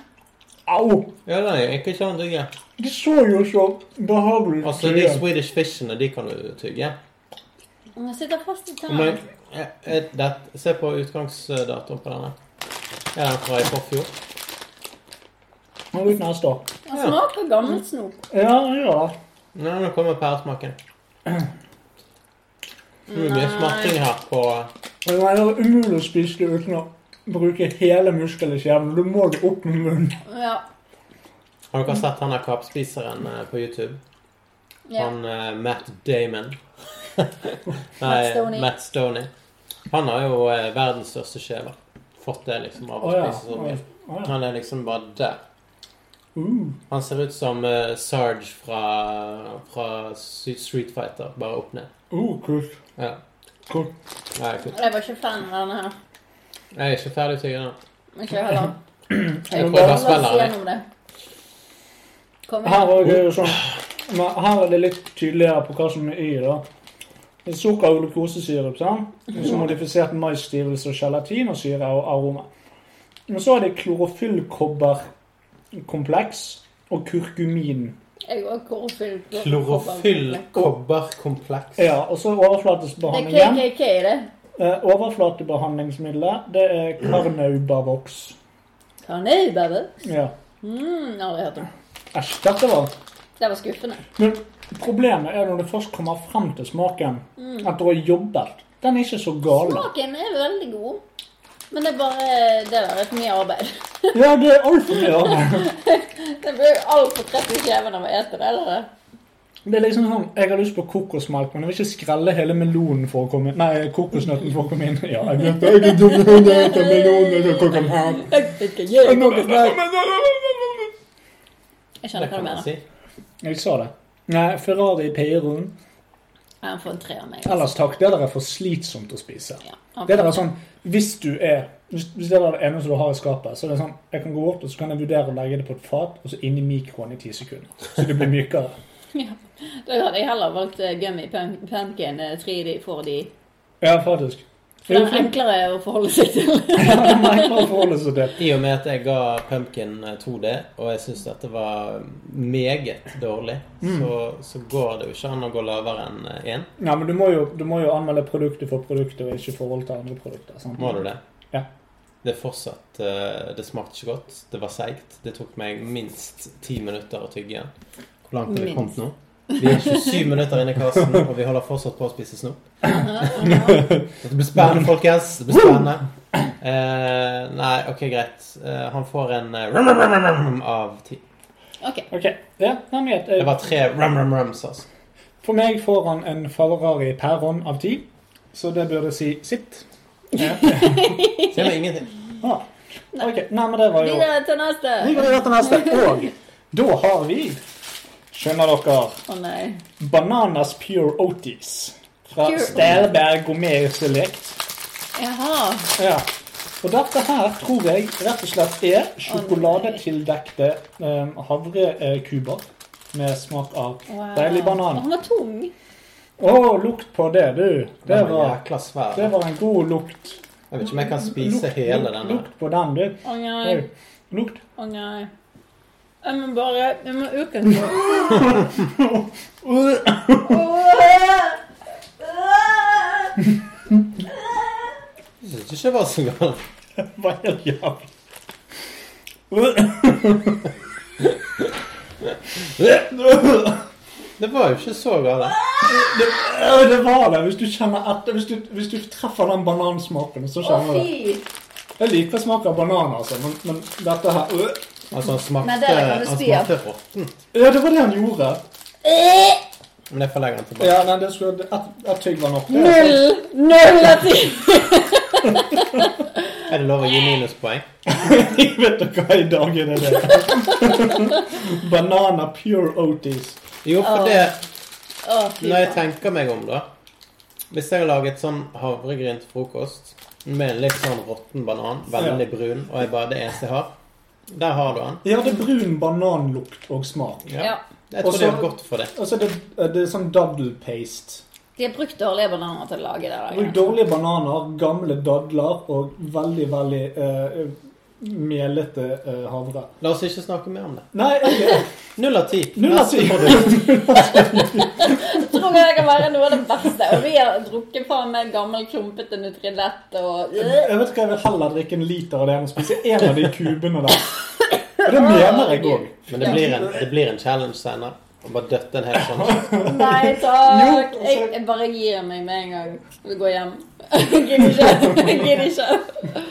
E: Au!
C: Ja, nei, ikke sånn tygge.
E: Det så jo så behagelig ut.
C: Altså, de Swedish fishene, de kan du tygge.
D: Den sitter fast i
C: Men
D: tennene.
C: eh, eh, det, se på utgangsdatoen på denne. Er den fra i forfjor?
E: Nå er det neste år.
D: Den smaker gammelt snop.
E: Ja, ja.
C: Nei, nå kommer pæresmaken. Det blir mye smatting her på
E: Men det er umulig å spise det uten å bruke hele muskelen i kjeven. Du må det opp med munnen.
D: Ja.
C: Har dere sett han der kappspiseren eh, på YouTube?
D: ja.
E: Sånn.
C: Han eh, Matt Damon. Nei,
D: Stoney.
C: Matt Stoney. Han har jo eh, verdens største skjeve. Fått det liksom av å
E: Å ja.
C: spise så mye.
E: Å ja.
C: Han er liksom bare der.
E: Uh.
C: Han ser ut som eh, Sarge fra, fra Street Fighter, bare opp ned.
E: Uh, kult.
C: Ja.
A: Kom.
C: Nei, kutt.
D: Jeg var ikke fan av denne her.
C: Jeg er ikke ferdig til ennå.
D: Ikke jeg heller.
C: Jeg
D: La
C: prøver å
D: oss
C: spille den.
D: gjennom det. Kom
E: Her
D: igjen.
E: er det jo sånn men Her er det litt tydeligere på hva som er i, da. Det er Sukker og glukosesirup. sant?
D: Mhm.
E: Og Så modifisert maisstivelse og gelatin og syre og aroma. Men så er det klorofyllkobberkompleks og kurkumin.
D: Jeg var klorofyll.
C: Klorofyll kobberkompleks.
E: Ja, og så
D: Det er
E: overflatesbehandlingen.
D: KKK, det.
E: Eh, overflatebehandlingsmiddelet, det er Carnaubavox.
D: Karneibabel.
E: Ja.
D: Mm, aldri hørt om.
E: Æsj, dette var
D: Det var skuffende.
E: Men problemet er når du først kommer frem til smaken
D: Mm.
E: etter å ha jobbet. Den er ikke så gal.
D: Smaken er veldig god. Men det er bare Det der er for mye arbeid.
E: Ja, det er altfor mye arbeid.
D: Det blir jo altfor trett i kjeven av å ete det. Eller?
E: Det er liksom sånn, Jeg har lyst på kokosmelk, men jeg vil ikke skrelle hele melonen for å komme inn. Nei, kokosnøtten for å komme inn. Ja, jeg vet det. Jeg er dum, jeg vet det, melonen, jeg kan komme her.
D: Jeg vet ikke, jeg
E: Nå er det snakk.
D: Jeg skjønner
C: Det
D: hva du
C: kan man
D: mener.
C: si.
E: Jeg sa det. Nei, Ferrari i Peiron.
D: Ja, Han får en tre av meg. altså.
E: Ellers takk. Det der er for slitsomt å spise.
D: Ja, han
E: Det der
D: får-
E: er sånn, Hvis du er hvis hvis det der er det eneste du har i skapet, så er det sånn, jeg kan gå bort og så kan jeg vurdere å legge det på et fat og så inn i mikroen i ti sekunder. Så det blir mykere.
D: Ja. Da hadde jeg heller valgt eh, gummy pun- pumpkin eh, 3D 4D.
E: Ja, faktisk.
D: For
E: Det er
D: den
E: jo
D: er
E: flink.
D: enklere å forholde seg til.
E: Ja, det er enklere å forholde seg til.
C: I og med at jeg ga Pumpkin 2D, og jeg syns dette var meget dårlig, så, så går det jo ikke an å gå lavere enn eh, 1.
E: Ja, men du må, jo, du må jo anmelde produktet for produktet og ikke i forhold til andre produkter. sant?
C: Må du det?
E: Ja.
C: Det er fortsatt eh, Det smakte ikke godt. Det var seigt. Det tok meg minst ti minutter å tygge igjen. Hvor langt har vi kommet nå? Vi er 27 minutter inne i kassen, og vi holder fortsatt på å spise snop. Dette blir spennende, folkens. Det blir spennende. Eh, nei, OK, greit. Eh, han får en eh, rum, rum, rum, rum av ti.
D: Ok,
E: Ok, ja, nei, men greit.
C: Det
E: Eh,
C: var tre rum-rum-rums, altså.
E: For meg får han en Ferrari Pæron av ti, så det burde si sitt. Ja.
C: Så det var ingenting.
E: Ah. Ok, nei, men det var jo...
D: Videre til neste.
E: Vi går videre til neste. Og da har vi Skjønner dere
D: Å nei.
E: Bananas Pure Otis fra
D: Pure
E: Stelberg Gourmet Select.
D: Jaha.
E: Ja. Og dette her tror jeg rett og slett er sjokoladetildekte eh, havrekuber med smak av
D: Wow.
E: deilig
D: Å,
E: banan.
D: Han var tung.
E: Å, lukt på det, du. Det
C: Den var
E: var,
C: jækla svær.
E: det
C: Jeg
E: var en god lukt.
C: vet ikke om jeg kan spise
E: Lukt,
C: hele
E: lukt,
C: den.
E: lukt på den, du.
D: Å nei.
E: Oi. Lukt.
D: Å nei. Jeg må bare Jeg må øke den.
C: Jeg synes ikke det var så galt.
E: Det var helt jævlig.
C: Det var jo ikke så galt.
E: Det, øh, det var det. Hvis du kjenner etter Hvis du, hvis du treffer den banansmaken, så
D: Å,
E: kjenner du det.
D: fy.
E: Jeg liker smaken av banan, altså, men, men dette her øh.
C: Altså, han
D: Men
C: smakte,
D: det kan
C: han
D: du spy av.
C: smakte råttent.
E: Ja, det var det han gjorde.
D: Eh,
C: Men det får jeg legge den tilbake.
E: Ja, nei, det skulle det- Ett et tygg var nok. Det, altså.
D: Null. Null av ti.
C: Er det lov å gi minuspoeng?
E: Vet du hva i dag er det det? Banana pure Otis.
C: Jo, for
D: Åh.
C: det
D: Å, fy
C: Når jeg
D: faen.
C: tenker meg om, da Hvis jeg har laget sånn havregryn til frokost med en litt sånn råtten banan, veldig brun, og jeg bare det eneste jeg har Der har du den.
E: Ja, det er brun bananlukt og smak.
D: Ja.
C: Jeg
E: Og
C: tror det
E: så-
C: er godt for det.
E: Og så er det, det er sånn double paste.
D: De har brukt dårlige bananer til å lage det. der.
E: Bruk dårlige bananer, gamle dadler og veldig, veldig eh, melete eh, havre.
C: La oss ikke snakke mer om det.
E: Nei, jeg,
C: Null av ti.
E: Null av ti.
C: Neste produkt.
D: tror jeg kan være noe av det beste. Og vi har drukket faen meg gammel, klumpete Nutrilett og
E: Jeg vet ikke, jeg vil heller drikke en liter av det enn å spise en av de kubene der. Og det mener jeg òg.
C: Men det blir en, det blir en challenge senere. Å bare døtte en hel sånn.
D: Nei
E: Jo,
D: takk.
E: altså-
D: Jeg, jeg bare gir meg med en gang. Vi går hjem. Jeg Gidder ikke. Jeg Gidder ikke.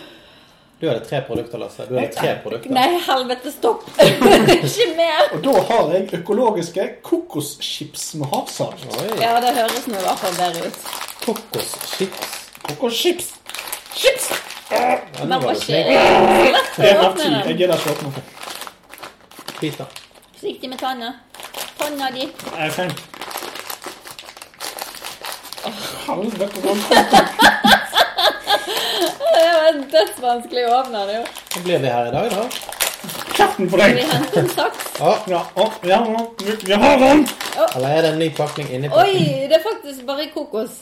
C: Du hadde tre produkter, Lasse. Du hadde tre produkter.
D: Nei, helvete, stopp. Ikke mer.
E: Og da har jeg økologiske kokoschips med havsalt.
C: Oi.
D: Ja, det høres nå i hvert fall bedre ut.
C: Kokoschips.
E: Kokoschips!
C: Ja, nå
D: Men
C: var
D: var
C: du
D: ikke
C: flink.
D: det lett å
E: En av ti.
D: åpne
E: Jeg
D: den.
E: gidder ikke åpne den.
C: Pita.
D: Forsiktig med tanna. Tanna di.
E: Jeg er fan. Helvete, hvordan-
D: Det var dødsvanskelig å åpne det, jo.
C: Da blir vi her i dag, da.
E: Kjeften på
D: Skal vi
E: deg!
D: hente en saks?
C: Å,
E: Ja, å, ja, ja, vi, vi har den!
C: eller er det en ny pakning inni pakken?
D: Oi, det er faktisk bare kokos.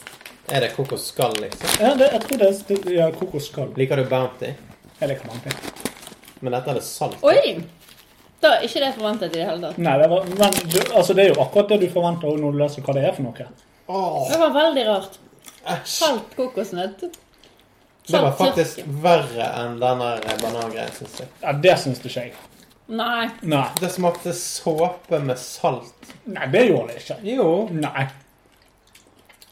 C: Er det kokosskall, liksom?
E: Ja, det, jeg tror det er det- ja, kokosskall.
C: Liker du Bounty?
E: Jeg liker mange.
C: Men dette er det salt.
D: Oi! Da er ikke det forventet i det hele tatt.
E: Nei, det, var, men, du, altså, det er jo akkurat det du forventer også når du leser hva det er for noe.
C: Åh,
D: Det var veldig rart.
C: æsj.
D: Salt kokosnøtt.
C: Det var
D: Salt
C: faktisk
D: tørke.
C: verre enn den der banangreien, syns jeg.
E: Ja, Det syns ikke jeg.
D: Nei.
E: Nei,
C: Det smakte såpe med salt.
E: nei det gjorde det ikke.
C: Jo.
E: Nei.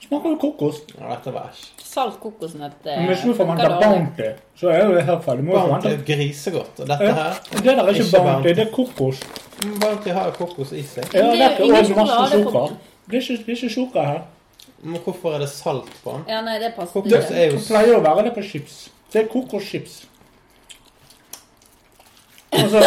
E: Smaker jo kokos.
C: Ja, dette var æsj.
D: Salt kokosnøtt eh,
E: Men hvis du
D: funker
E: forventer
D: dårlig.
E: Bounty, så er jo det helt feil. Du må jo
C: Bounty
E: forvente
C: er grisegodt. Og dette
E: Ja,
C: her
E: Det der er ikke
C: Ikke
E: Bounty,
C: Bounty.
E: det er kokos.
C: mm, Bounty har jo kokos i seg.
E: Ja,
D: Men det er
E: det er
D: jo ingen
E: også masse
D: sjokolade på
E: sukker.
D: den.
E: Det er ikke, det er ikke sukker her.
C: Men hvorfor er det salt på den?
D: Ja, nei, det passer
C: Kokos
D: ikke.
C: er jo
E: Det pleier å være det på chips. Det er kokoschips. Altså,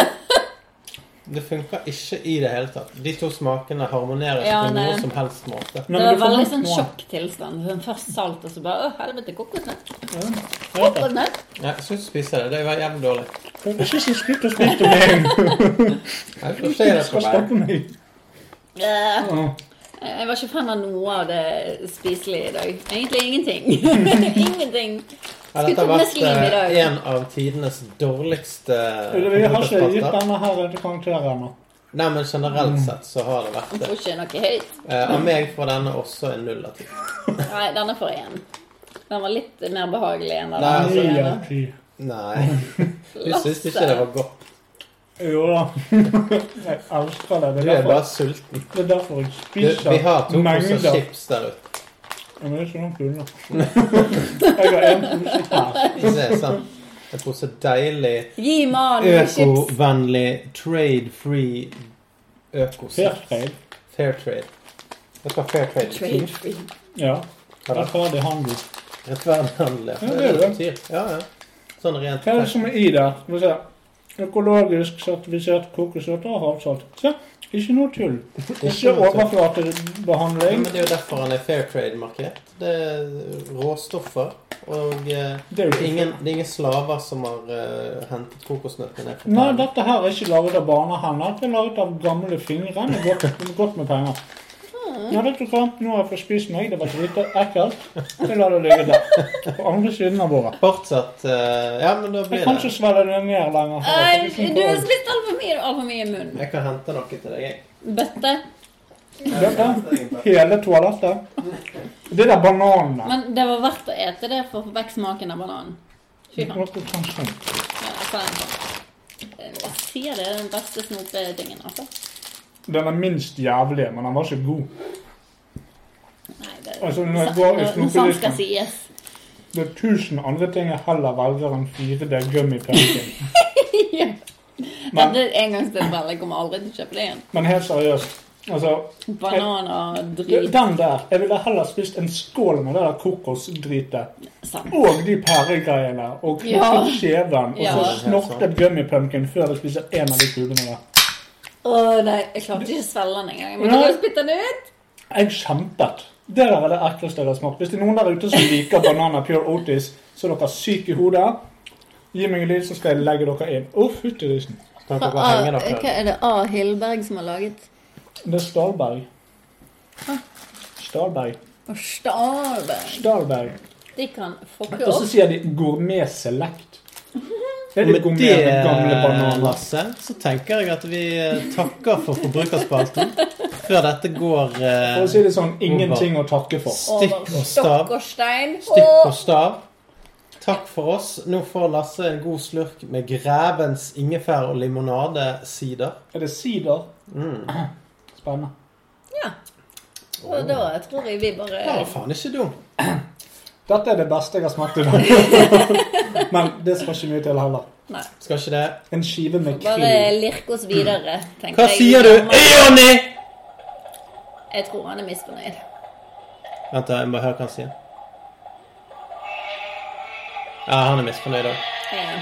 C: Det funker ikke i det hele tatt. De to smakene harmonerer ikke
D: Ja,
C: på
D: nei.
C: noen som helst måte.
E: nei,
D: Det
E: men
D: var
E: du
D: veldig
E: forventer
D: sånn
E: noe annet.
D: sjokktilstand. Sånn Først salt, og så bare Å, helvete, kokosnøtt.
E: Ja, jeg vet det.
D: Kokosnøtt.
C: Nei, Slutt å spise det. Det var jævlig dårlig.
E: Kan du Ikke si slutt å spytte meg.
C: Jeg
E: Du
C: får se det
E: skal
C: på meg.
E: stoppe meg.
D: Eh,
E: Ja.
D: Jeg var ikke fan av noe av det spiselige i dag. Egentlig ingenting. ingenting.
C: Ja,
D: Skulle
C: dette har
D: komme
C: vært
D: slim i
C: eh,
D: dag.
C: en av tidenes dårligste
E: Jeg har ikke gitt
C: forbrukerspalter.
E: denne her til karakterer ennå.
C: Nei, men generelt sett så har det vært
D: Jeg
C: det.
D: får ikke noe høyt.
C: Eh, Av meg får denne også en null av ti.
D: Nei, denne får én. Den var litt mer behagelig enn den
C: Nei,
E: Ni
D: andre.
E: av ti.
C: Nei, du syns ikke det var godt.
E: Jo da. Jeg elsker det.
C: Du
E: Det er
C: er
E: derfor,
C: bare sulten.
E: det er derfor jeg
C: Du, vi har to
E: spiser
C: poser
E: mengder.
C: chips der ute.
E: Ja, men det er ikke noen kuler. Jeg har en pose her.
C: Det er sant. En pose deilig,
D: Gi mannen chips.
C: økovennlig, trade-free økosipp.
E: Fair trade.
C: Fair trade. Vet du hva fair trade
D: Trade
C: betyr?
D: free.
E: Ja.
C: Ja, da.
E: Rettferdig handel.
C: Rettferdig handel.
E: Ja, det er det.
C: betyr. Ja, ja. Sånn rent
E: Hva er det som er i der? Skal vi se. Økologisk sertifisert kokosnøtter og havsalt. Se, ikke noe tull. Ikke
C: Ja,
E: overflatebehandling.
C: men Det er jo derfor han er fair trade-marked. Det er råstoffer. Og eh,
E: Det er jo
C: det er
E: ikke
C: ingen, det er ingen slaver som har eh, hentet kokosnøtter ned fra
E: Nei,
C: trærne.
E: dette her er ikke laget av barnehender. Det er laget av gamle fingre med godt, godt med penger.
D: Mm.
E: Ja, vet du hva? Nå har jeg fått spist meg. Det var lite ekkelt. Jeg lar det ligge der. På andre siden av bordet.
C: Fortsatt eh, Ja, men da
E: Jeg
C: blir
E: kan ikke
C: det
E: svelge det ned lenger.
D: Nei,
E: her. Det er
D: Eh, Du har
E: ikke
D: spist altfor mye, altfor mye i munnen.
C: Jeg kan hente noe til deg, jeg.
D: Bøtte.
E: noe kål. Dette, hele toalettet. Det der bananene.
D: Men det var verdt å ete det for å få vekk smaken av bananen. Fy faen.
E: Noe sånn sånt.
D: Ja, jeg sa det. Jeg sier det er den beste snopetingen, altså.
E: Den er minst jævlig, men den var så god.
D: Nei, det
E: Altså, når jeg går i
D: Når sant skal
E: snopelisten.
D: sies.
E: Det er tusen andre ting jeg heller velger enn 4D gummy pumpkin.
D: Ja.
E: Men,
D: Dette er engangstilfelle. Jeg kommer aldri til å kjøpe det igjen.
E: men helt seriøst, altså
D: Bananer og drit.
E: Den der. Jeg ville heller spist en skål med det der kokosdritet.
D: Sant.
E: Og de pæregreiene. Og
D: Ja.
E: knekket kjeven. Og så
D: Ja.
E: snorte gummy pumpkin før jeg spiser en av de kubene der.
D: Å nei, jeg klarte ikke å svelge den engang. Jeg
E: Nei.
D: måtte bare spytte den ut.
E: Jeg kjempet. Det der er det ekleste jeg har smakt. Hvis det er noen der ute som liker banana pure Otis, så er dere syke i hodet. Gi meg en lyd, så skal jeg legge dere inn. Å, fytti risen.
C: Kan dere bare henge
D: Ah, Hva
C: dere?
D: er det A. Hillberg som har laget?
E: Det er Stalberg. Stalberg.
D: Å, Stalberg.
E: Stalberg.
D: De kan fucke
C: altså,
E: Og så
D: opp.
E: sier de gourmet select. Det er de
C: Med
E: gourmet
C: det, eh,
E: med gamle bananer.
C: Lasse, så tenker jeg at vi eh, takker for forbrukerspalten. Før dette går eh,
E: For å si det sånn, ingenting å takke for.
C: stikk
D: Over
C: og stav.
D: stokk og stein.
C: Stikk og
D: Å,
C: stav. Takk for oss. Nå får Lasse en god slurk med Grevens ingefær- og limonadesider.
E: Er det sider?
C: Mm.
E: Spennende.
D: Og da tror jeg vi bare
C: Det var faen ikke dumt.
E: Dette er det beste jeg har smakt i dag. Men det skal ikke mye til heller.
D: Nei.
C: Skal ikke det?
E: En skive med
D: Bare
E: krill.
D: lirke oss videre, tenker
C: Hva
D: jeg.
C: sier du? Jonny!
D: Jeg tror han er misfornøyd.
C: Vent, da, jeg må høre hva han sier. Ja, han er misfornøyd òg.
D: Ja.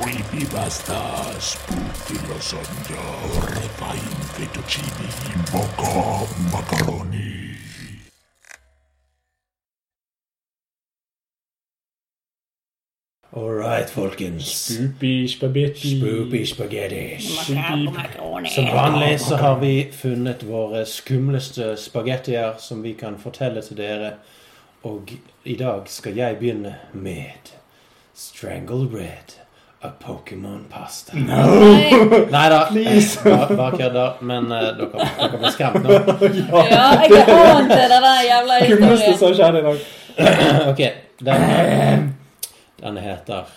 A: Creepy basta, spooky lasagna, horrifying fettuccine, mocha macaroni.
F: All right, folkens.
E: Spoopy spagetti.
F: Spoopy spaghetti.
D: Makrell og makaroni.
C: Som vanlig så har vi funnet våre skumleste spagettier som vi kan fortelle til dere. Og i dag skal jeg begynne med Strangle Red av Pokémon Pasta. No! Nei da, bare bare kødder. Men eh, dere, dere blir skremt nå.
D: Ja, jeg har ante det der jævla
E: Skumleste
D: historien.
E: som har skjedd i dag.
C: Ok, den, den heter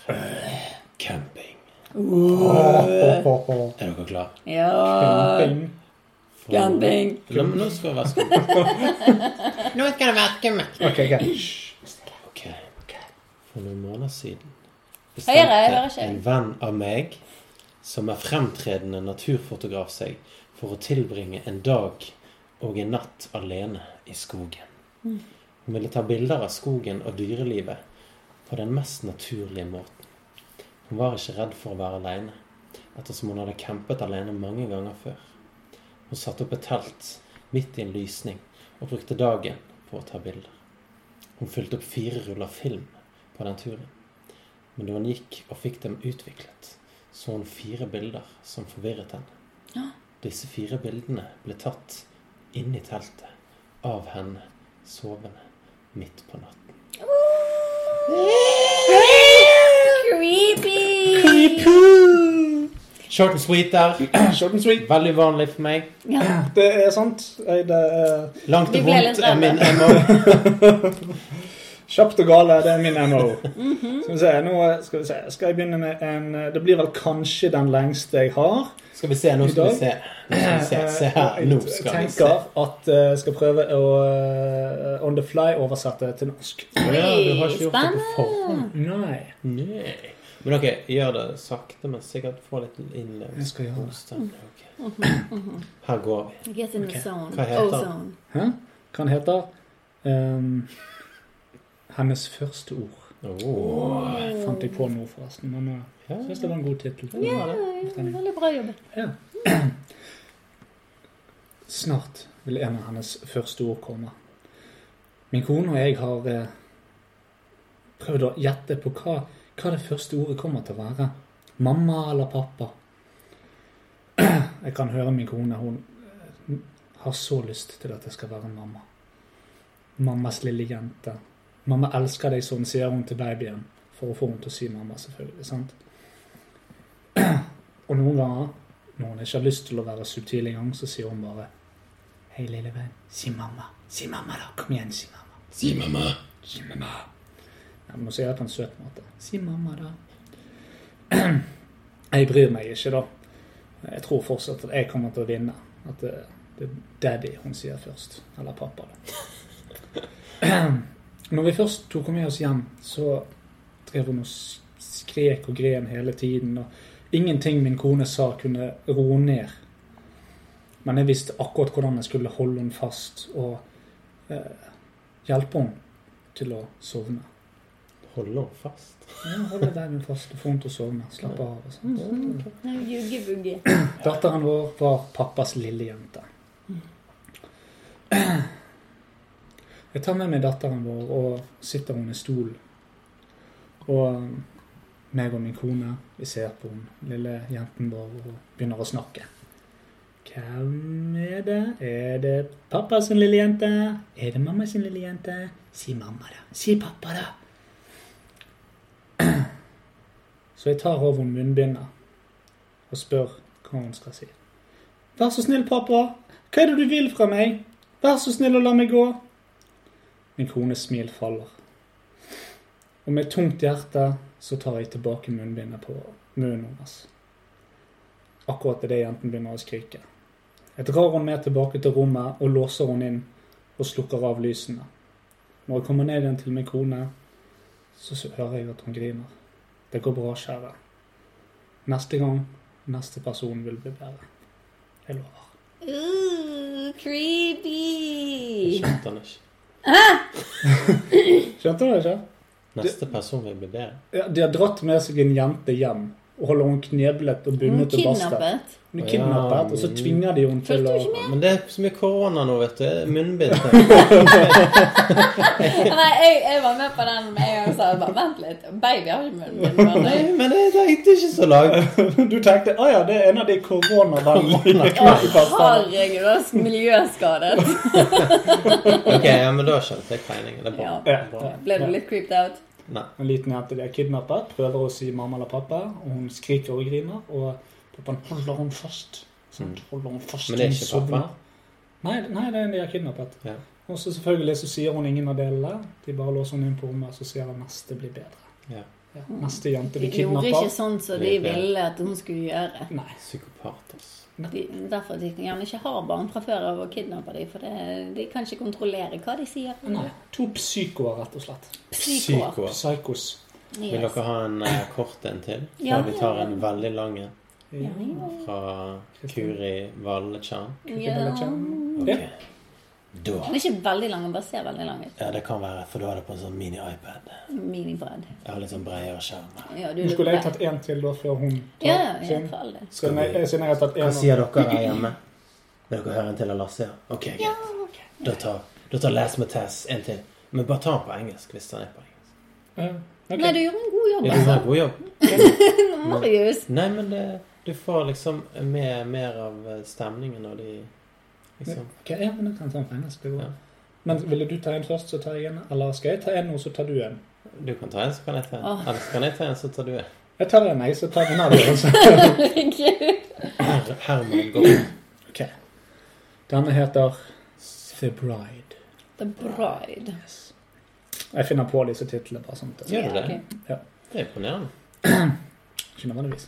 C: Camping. Er dere klare?
D: Ja,
E: Bing.
D: camping.
C: Nå, nå skal det være skummelt. nå skal det være skummelt.
E: Ok, ok.
C: Ok. For noen måneder siden
D: Høyere, jeg hører ikke.
C: en venn av meg, som er fremtredende naturfotograf, seg for å tilbringe en dag og en natt alene i skogen.
D: Mm.
C: Hun ville ta bilder av skogen og dyrelivet på den mest naturlige måten. Hun var ikke redd for å være alene, ettersom hun hadde campet alene mange ganger før. Hun satte opp et telt midt i en lysning og brukte dagen på å ta bilder. Hun fylte opp fire ruller film på den turen. Men da hun gikk og fikk dem utviklet, så hun fire bilder som forvirret henne. Disse fire bildene ble tatt inni teltet av henne sovende midt på natten.
D: Creepy!
C: Short and sweet der.
E: Short and sweet.
C: Veldig uvanlig for meg.
D: Ja,
E: Det er sant. Jeg- Det er
C: Langt
D: Vi
C: og
D: ble litt
C: vondt er min
D: redde.
C: MO.
E: Kjapt og gale, det er min MO.
C: Mhm.
E: Skal vi se, nå skal, vi se. skal jeg begynne med en eh, Det blir vel kanskje den lengste jeg har. Eh,
C: Skal vi se, nå skal vi se. Nå skal vi se. Se her, nå skal
E: jeg
C: vi se.
E: tenker at eh, jeg skal prøve å eh, on the fly oversette til norsk.
C: Ja, du har ikke gjort det på forhånd.
E: Nei.
C: Nei. Men ok, gjør det sakte, men sikkert få litt innlevelse.
E: Jeg skal gjøre det.
C: Ok. Her går vi.
D: Get in the zone.
C: Hva heter den?
D: Ozone.
E: Hæ? Hva den heter Ehm, Hennes første ord.
C: Oh.
E: Fant jeg på nå, forresten. Men eh, jeg syns det var en god tittel.
D: Ja, Veldig bra jobbet.
E: Ja. Snart vil en av hennes første ord komme. Min kone og jeg har eh, prøvd å gjette på hva, hva det første ordet kommer til å være. Mamma eller pappa? Jeg kan høre min kone. Hun eh, har så lyst til at jeg skal være mamma. Mammas lille jente. Mamma elsker deg sånn, sier hun til babyen. For å få henne til å si mamma, selvfølgelig. sant? Og noen ganger, når hun ikke har lyst til å være subtil engang, så sier hun bare Hei, lille venn. Si mamma. Si mamma, da. Kom igjen, si mamma.
F: Si mamma.
E: Si mamma. Ja, men hun sier det på en søt måte. Si mamma, da. Jeg bryr meg ikke, da. Jeg tror fortsatt at jeg kommer til å vinne. At det, det er daddy hun sier først. Eller pappa, da. Når vi først tok henne med oss hjem, så drev hun og s- skrek og gren hele tiden. og Ingenting min kone sa kunne roe ned. Men jeg visste akkurat hvordan jeg skulle holde henne fast og eh, hjelpe henne til å sovne.
C: Holder hun fast?
E: Ja, holde babyen fast og få henne til å sovne. Slappe av. og sånt.
D: Nei, juggebugge.
E: Datteren vår var pappas lille jente. Jeg tar med meg datteren vår, og sitter hun i stol. Og um, meg og min kone, vi ser på hun, lille jenten vår og begynner å snakke. Hvem er det? Er det pappa sin lille jente? Er det mamma sin lille jente? Si mamma, da. Si pappa, da. Så jeg tar av henne munnbindet og spør hva hun skal si. Vær så snill, pappa. Hva er det du vil fra meg? Vær så snill og la meg gå. Min kones smil faller. Og med et tungt hjerte så tar jeg tilbake munnbindet på munnen hennes. Akkurat idet jenten begynner å skrike. Jeg drar henne med tilbake til rommet og låser henne inn og slukker av lysene. Når jeg kommer ned igjen til min kone, så hører jeg at hun griner. Det går bra, kjære. Neste gang Neste person vil bli bedre. Jeg lover.
D: Uh, creepy!
C: Skjønte han ikke.
E: Skjønte du det ikke?
C: Neste person vil bli bedre.
E: Ja, De har dratt med seg en jente hjem og holder hun kneblet og
D: Hun er
E: bundet og bastet.
D: kidnappet.
E: Hun er kidnappet, og så tvinger de henne til
D: Følte
E: å
D: du ikke med?
C: Men det er så mye korona nå, vet du. Munnbind. tenker jeg.
D: Nei, jeg, jeg var med på den med en gang og sa bare vent litt. Baby har ikke munnbind.
C: Nei, men det tenkte ikke så langt.
E: Du tenkte å ja, det er en av de koronavennlige
D: Å,
E: knepekasterne.
D: herregud, det er så miljøskadet.
C: Ok, ja, men da skjønte jeg tegningen. Det er bra.
D: Ja.
E: Ja,
C: Bra.
E: ja.
D: Ble du litt creeped out?
C: Nei.
E: En liten jente blir kidnappet, prøver å si mamma eller pappa, og hun skriker og griner. Og pappaen holder henne fast. Sånn, holder henne fast
C: Men det er
E: hun
C: ikke pappa.
E: sovner. Nei, nei, det er en de har kidnappet.
C: Ja.
E: Og så selvfølgelig så sier hun ingen av delene. De bare låser henne inn på rommet, og så sier hun neste blir bedre.
C: Ja.
E: Ja, neste jente
D: De
E: blir
D: Mm. gjorde ikke
E: kidnappet.
D: sånn som de ville at hun skulle gjøre.
E: Nei.
C: Psykopat, altså.
D: De, derfor de kan gjerne ikke ha barn fra før av og kidnappe dem. For det, de kan ikke kontrollere hva de sier.
E: nei. To psykoer, rett og slett.
D: Psykoer.
C: Psyko.
E: Psykos.
C: Vil
D: Yes.
C: dere ha en eh, kort en til? Før
D: Ja.
C: vi tar en veldig lang en
D: Ja, ja.
C: fra Kuri Vallechan.
D: Ja.
E: Ja.
F: Ok. Da.
D: Den er ikke veldig lang, den bare ser veldig lang ut.
F: Ja, det kan være, for du har det på en sånn mini-iPad.
D: Minibread.
F: Jeg har litt sånn bredere skjerm.
D: Ja, du
E: Nå skulle jeg tatt en til da før hun tar
D: Ja, ja,
E: sin.
D: for all del.
E: Siden jeg, jeg- siden jeg har tatt
F: Hva
E: en
F: sier dere her hjemme? Vil dere høre en til av Lasse? Ja. Ok, greit. Da tar, da tar Les Mathes en til. Men bare ta den på engelsk hvis den er på engelsk.
E: Ja, ok.
D: Nei, du gjorde en god jobb,
C: Ja, du
D: altså.
C: har god jobb.
D: Marius.
C: Nei, men det, du får liksom med mer av eh, stemningen og de liksom
E: Ok, ja, men jeg kan ta en på engelsk. Det går.
C: Ja.
E: Men ville du ta en først, så tar jeg en? Eller skal jeg ta en nå, så tar du en?
C: Du kan ta en, så kan jeg ta en.
D: Åh.
C: Eller så kan jeg ta en, så tar du en.
E: Jeg tar en, jeg, så tar en av altså. dere. så.
C: Her, Herman går.
E: Ok. Denne heter The Bride.
D: The Bride.
E: Jeg finner på disse titlene bare sånn. til-
C: Gjør du det?
E: Ja.
C: Det er imponerende.
E: Ikke nødvendigvis.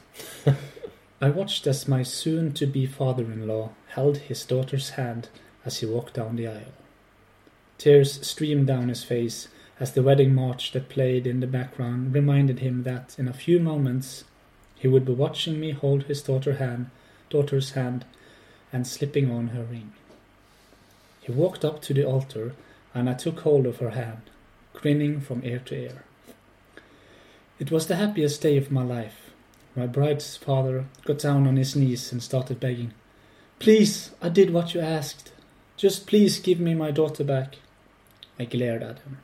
E: I watched as my soon-to-be father-in-law held his daughter's hand as he walked down the aisle. Tears streamed down his face as the wedding march that played in the background reminded him that in a few moments he would be watching me hold his daughter hand, daughter's hand and slipping on her ring. He walked up to the altar and I took hold of her hand, grinning from ear to ear. It was the happiest day of my life. My bride's father got down on his knees and started begging. Please, I did what you asked. Just please give me my daughter back. I glared at him.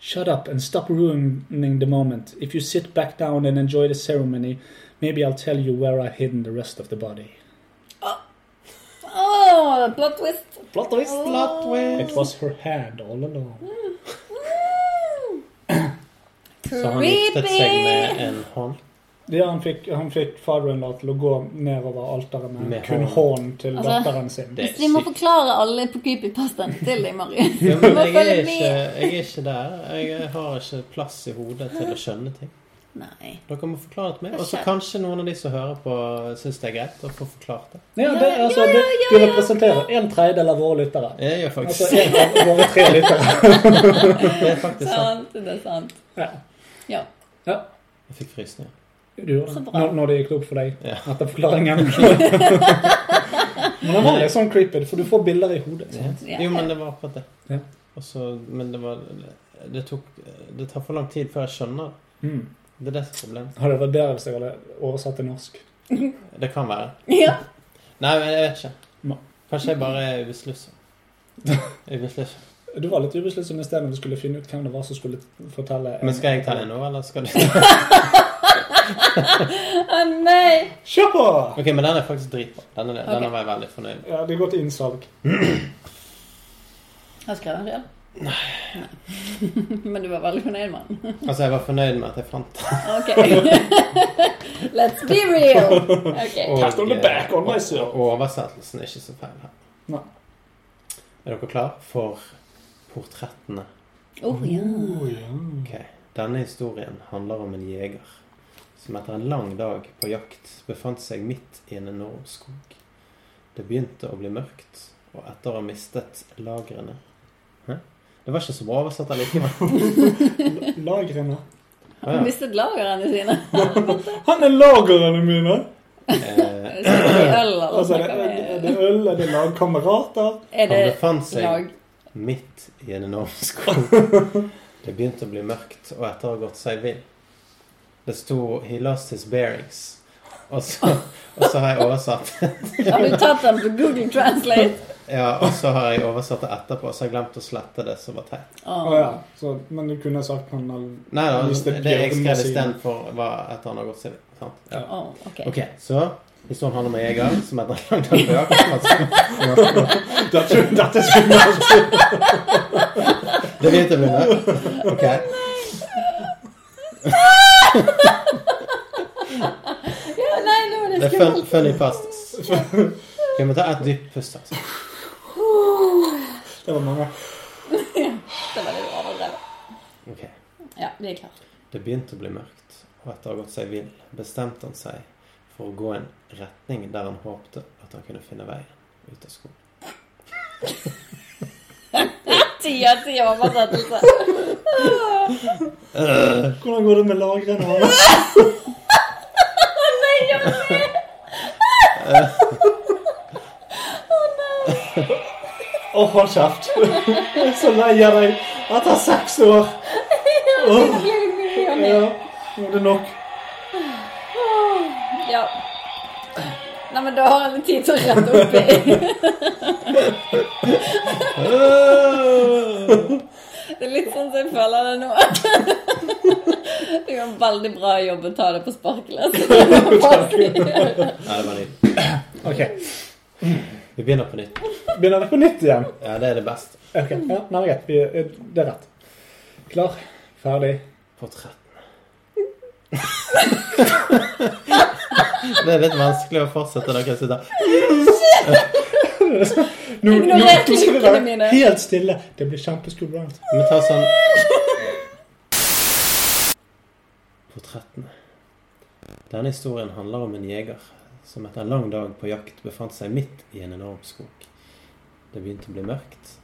E: Shut up and stop ruining the moment. If you sit back down and enjoy the ceremony, maybe I'll tell you where I've hidden the rest of the body.
D: Åh, plot twist.
E: Plot twist!
C: Plot twist.
E: It was her hand all along.
C: Så han giftet seg med eh,
D: Creepy.
C: en hånd.
E: Ja, han fikk, han fikk faderen til å gå nedover alteret med,
C: Med
E: kun
C: hånden.
E: hånden til
D: Altså,
E: datteren sin.
C: Det er
D: Vi må
C: sykt.
D: forklare alle på creepypastaen til deg, Marius.
C: Ja, men
D: må
C: jeg er,
D: følge
C: ikke, jeg er ikke der. Jeg har ikke plass i hodet til å skjønne ting.
D: Nei.
C: Dere må forklare det til meg. Og så
D: Kanskje.
C: kanskje noen av de som hører på, syns det er greit å få forklart det.
E: Ja, det, altså, det, du representerer en tredjedel av våre lyttere.
C: Jeg gjør
E: Altså
C: faktisk
E: en av våre tre lyttere.
C: det. er faktisk sånn. sant.
D: Sant, det er sant.
E: Ja.
D: Ja.
E: ja.
C: Jeg fikk frysninger.
E: Du gjorde
D: Så
E: det.
D: bra.
E: Når, når det gikk opp for deg
C: Ja.
E: etter forklaringen. Men det var litt sånn creepy, for du får bilder i hodet. sant?
D: Ja.
C: Jo, men det var akkurat det.
E: Ja.
C: Og så- men det var det, tok, det tar for lang tid før jeg skjønner det.
E: Mm.
C: Det er det som er problemet.
E: Hadde det vært bedre hvis jeg hadde oversatt til norsk?
C: Det kan være.
D: Ja.
C: Nei, men jeg vet ikke.
E: Nei.
C: Kanskje jeg bare er ubesluttsom. Ubesluttsom.
E: Du var litt ubesluttsom i stedet når du skulle finne ut hvem det var som skulle fortelle.
C: Men skal jeg ta det nå, eller skal du
D: Å nei.
E: Kjør på!
C: Ok, men den er faktisk dritbra. Den, er,
D: Ok.
C: den var jeg veldig fornøyd med.
E: Ja, det går til innsalg.
D: Har du skrevet den selv? Nei. Men du var veldig fornøyd med den.
C: Altså, jeg var fornøyd med at jeg fant den.
D: Ok. Let's be real. Ok.
E: Pat on the back on my soul.
C: eh, og oversettelsen er ikke så feil her.
E: Nei.
C: Er dere klar for portrettene?
D: Oh, ja.
C: Ok. Denne historien handler om en jeger som etter en lang dag på jakt befant seg midt i en enorm skog. Det begynte å bli mørkt, og etter å ha mistet lagrene Hæ? Det var ikke så bra oversatt allikevel.
E: Lagrene.
C: Ah,
D: Han
C: ja.
D: mistet lagrene sine.
E: Han er lagrene mine!
C: eh,
D: Så er det øl, eller
E: Altså, er
D: snakker
E: det,
D: vi-
E: er det øl? Er det lagkamerater?
D: Er
C: Han
D: det
C: befant seg
D: lag?
C: midt i en enorm skog. Det begynte å bli mørkt, og etter å ha gått seg vill det sto 'He lost his bearings'. Og så, og så har jeg oversatt
D: Har du tatt den på Google Translate?
C: Ja, og så har jeg oversatt det etterpå, så har jeg glemt å slette det som var teit.
D: Åh.
E: Å ja. Så, men du kunne sagt han eller
C: Nei da,
E: Hvis det
C: det jeg
E: bjørner
C: skrev
E: seg inn.
C: istedenfor, var etter han har gått seg sant? Ja.
D: Åh, ok.
C: Ok, så historien handler om en jeger som heter Langdal Bø.
E: Dette, dette skulle jeg spurt!
C: Det begynte jeg å begynne. Ok.
D: Ja, nei, nå er
C: Det
D: det
C: er fun,
D: skummelt.
C: funny pastas. Vi må ta et dypt pust. Altså.
E: Det var mange.
D: Det var litt overdrevet.
C: Ok.
D: Ja, vi er klare.
C: Det begynte å bli mørkt, og etter å ha gått seg vill bestemte han seg for å gå en retning der han håpte at han kunne finne veien ut av skogen.
D: Ti av ti oversettelse.
E: Hvordan går det med lagrene hans?
D: Nei, jeg vil se!
E: Å, hold kjeft! Jeg er så lei av deg etter seks år! Åh, ja, nå er det nok.
D: Ja. Nei, men da har vi tid til å rette opp i. Det er litt sånn som jeg føler det nå. Du gjør en veldig bra jobb å ta det på altså. sparkelet.
C: Nei, det var nydelig.
E: Ok,
C: Vi begynner på nytt.
E: Begynner vi på nytt igjen?
C: Ja, det er det beste.
E: Ok, ja, nei, det er greit. Vi- eh, Det er rett. Klar, ferdig.
C: Portrettene. Det er litt vanskelig å fortsette når dere sitter
E: Nå, nå, nå
D: Ignorer
E: skal vi
D: klikkene mine.
E: være helt stille. Det blir kjempeskummelt.
C: Vi tar sånn Portrettene. Denne historien handler om en jeger som etter en lang dag på jakt befant seg midt i en enorm skog. Det begynte å bli mørkt,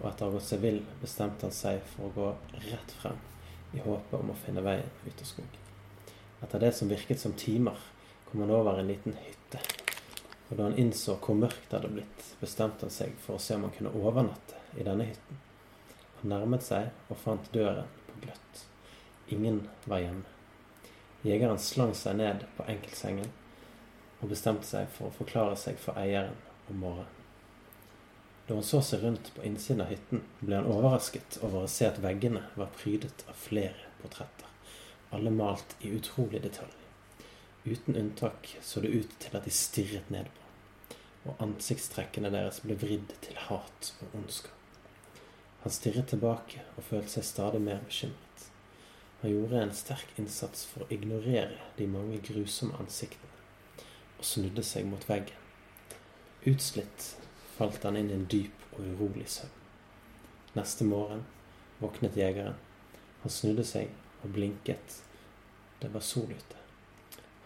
C: og etter å ha gått seg vill bestemte han seg for å gå rett frem i håpet om å finne veien ut av skogen. Etter det som virket som timer, kom han over en liten hytte. Og da han innså hvor mørkt det hadde blitt, bestemte han seg for å se om han kunne overnatte i denne hytten. Han nærmet seg og fant døren på gløtt. Ingen var hjemme. Jegeren slang seg ned på enkeltsengen og bestemte seg for å forklare seg for eieren om morgenen. Da han så seg rundt på innsiden av hytten, ble han overrasket over å se at veggene var prydet av flere portretter, alle malt i utrolig detalj. Uten unntak så det ut til at de stirret ned på ham, og ansiktstrekkene deres ble vridd til hat og ondskap. Han stirret tilbake og følte seg stadig mer bekymret. Han gjorde en sterk innsats for å ignorere de mange grusomme ansiktene og snudde seg mot veggen. Utslitt falt han inn i en dyp og urolig søvn. Neste morgen våknet jegeren. Han snudde seg og blinket. Det var sol ute.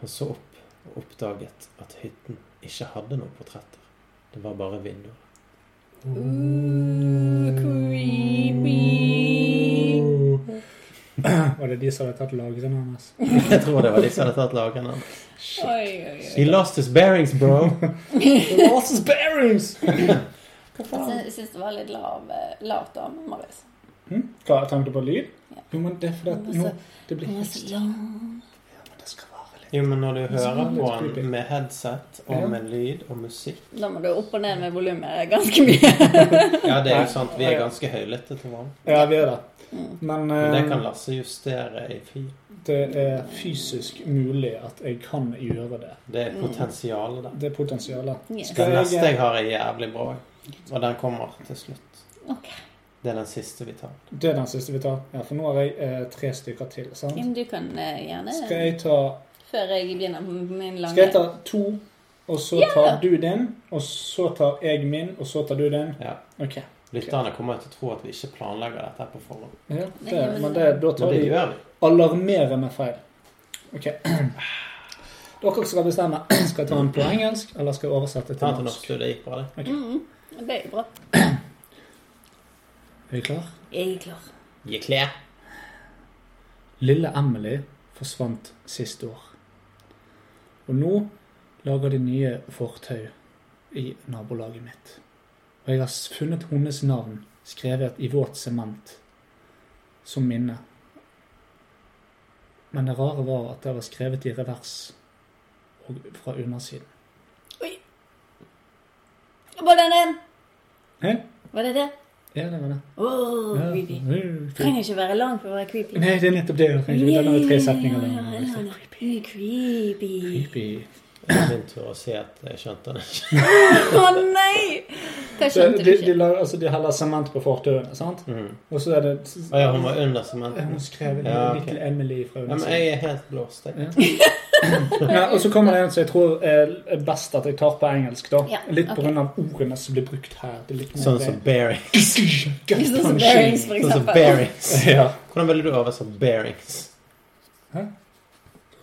C: Han så opp og oppdaget at hytten ikke hadde noen portretter. Det var bare vinduer.
D: Creepy.
E: Og det er de som hadde tatt lagrene hans.
C: Jeg tror det var de som hadde tatt lagrene.
D: Oi, oi, oi.
C: He lost his bearings, bro.
E: Losses bearings! Hva
D: Jeg
E: faen?
D: sy- syns det var litt lav, eh, lavt av Marius.
E: Hm? Hva er tanken på lyd?
D: Ja.
E: Jo, men det er fordi at
D: Men
E: nå
D: så-
E: Det blir
D: Den var
E: helt
D: så
E: stille.
D: lang.
E: men Det skal være litt
C: Jo, men når du hører
E: litt
C: på han
E: creepy.
C: med headset
E: Ja.
C: og med lyd og musikk
D: Da må du opp og ned med volumet ganske mye.
C: Ja, det er jo sant, vi er ganske høylytte til hverandre.
E: Ja, vi er det. Men,
C: Men det kan
E: eh,
C: Lasse justere i fil.
E: det er fysisk mulig at jeg kan gjøre det.
C: Det er potensialet der.
E: Det er potensialet.
D: Yes.
E: Skal
C: Den
E: jeg-
C: neste jeg har, Mm. er jævlig bra. Og den kommer til slutt.
D: Ok.
C: Det er den siste vi tar.
E: Det er den siste vi tar. Ja, for nå har jeg eh, tre stykker til.
D: Ja,
E: sant?
D: men Du kan eh,
E: Skal
D: gjerne
E: jeg ta,
D: Før jeg begynner på min lange
E: skal jeg ta to, og så tar du din, og så tar jeg min, og så tar du din?
C: Ja.
E: OK.
C: Lytterne kommer jo til å tro at vi ikke planlegger dette her på forhånd.
E: Ja, det,
D: Nei, men-
E: men det, da
C: Men
E: tar
C: det
E: vi
C: gjør vi.
E: Alarmerende feil. Ok. Dere skal bestemme. Skal jeg ta den på engelsk, eller skal jeg oversette
C: Ta
E: til
C: den til
E: norsk?
C: norsk, du. Det gikk bra, det.
D: Mhm. Det er jo bra.
E: Er vi klar?
D: Jeg er klar.
C: Gi klær.
E: Lille Emily forsvant siste år. Og nå lager de nye fortau i nabolaget mitt. Og jeg har s- funnet hennes navn skrevet i våt sement som minne Men det rare var at det var skrevet i revers og fra undersiden.
D: Var det den?
E: Hæ?
D: Var det det?
E: Ja, det var det.
D: Åh,
E: Ja.
D: creepy.
E: Nei,
D: Trenger ikke være lang for å være creepy.
E: det er nettopp det. Den har jo tre setninger.
D: Ja, ja, ja,
E: lang.
D: ja. Creepy. Creepy.
E: Creepy.
C: Det er min tur å se at jeg skjønte det ikke.
D: Å nei! Hva
E: Så
D: skjønte du
E: de, de,
D: ikke?
E: la- altså, de heller sement på fortauene, sant?
C: Mm.
E: Og så er det
C: Å ja, hun var under
E: Hun
C: sementen.
E: skrev en
C: Ja, ok.
E: Little Emily fra
C: Ja, men
E: undersiden.
C: jeg er helt blåst, jeg.
E: Ja, og så kommer det en som jeg tror er er best at jeg tar på engelsk. da.
D: Ja,
E: Litt
D: ok.
E: på grunn av ordene som blir brukt her. Det er litt mer
C: Sånn som bearings.
D: Sånn som
E: Gut-punching.
D: bearings, for
C: Sånn som
D: eksempel.
C: bearings.
E: Ja.
C: Hvordan ville du oversatt bearings?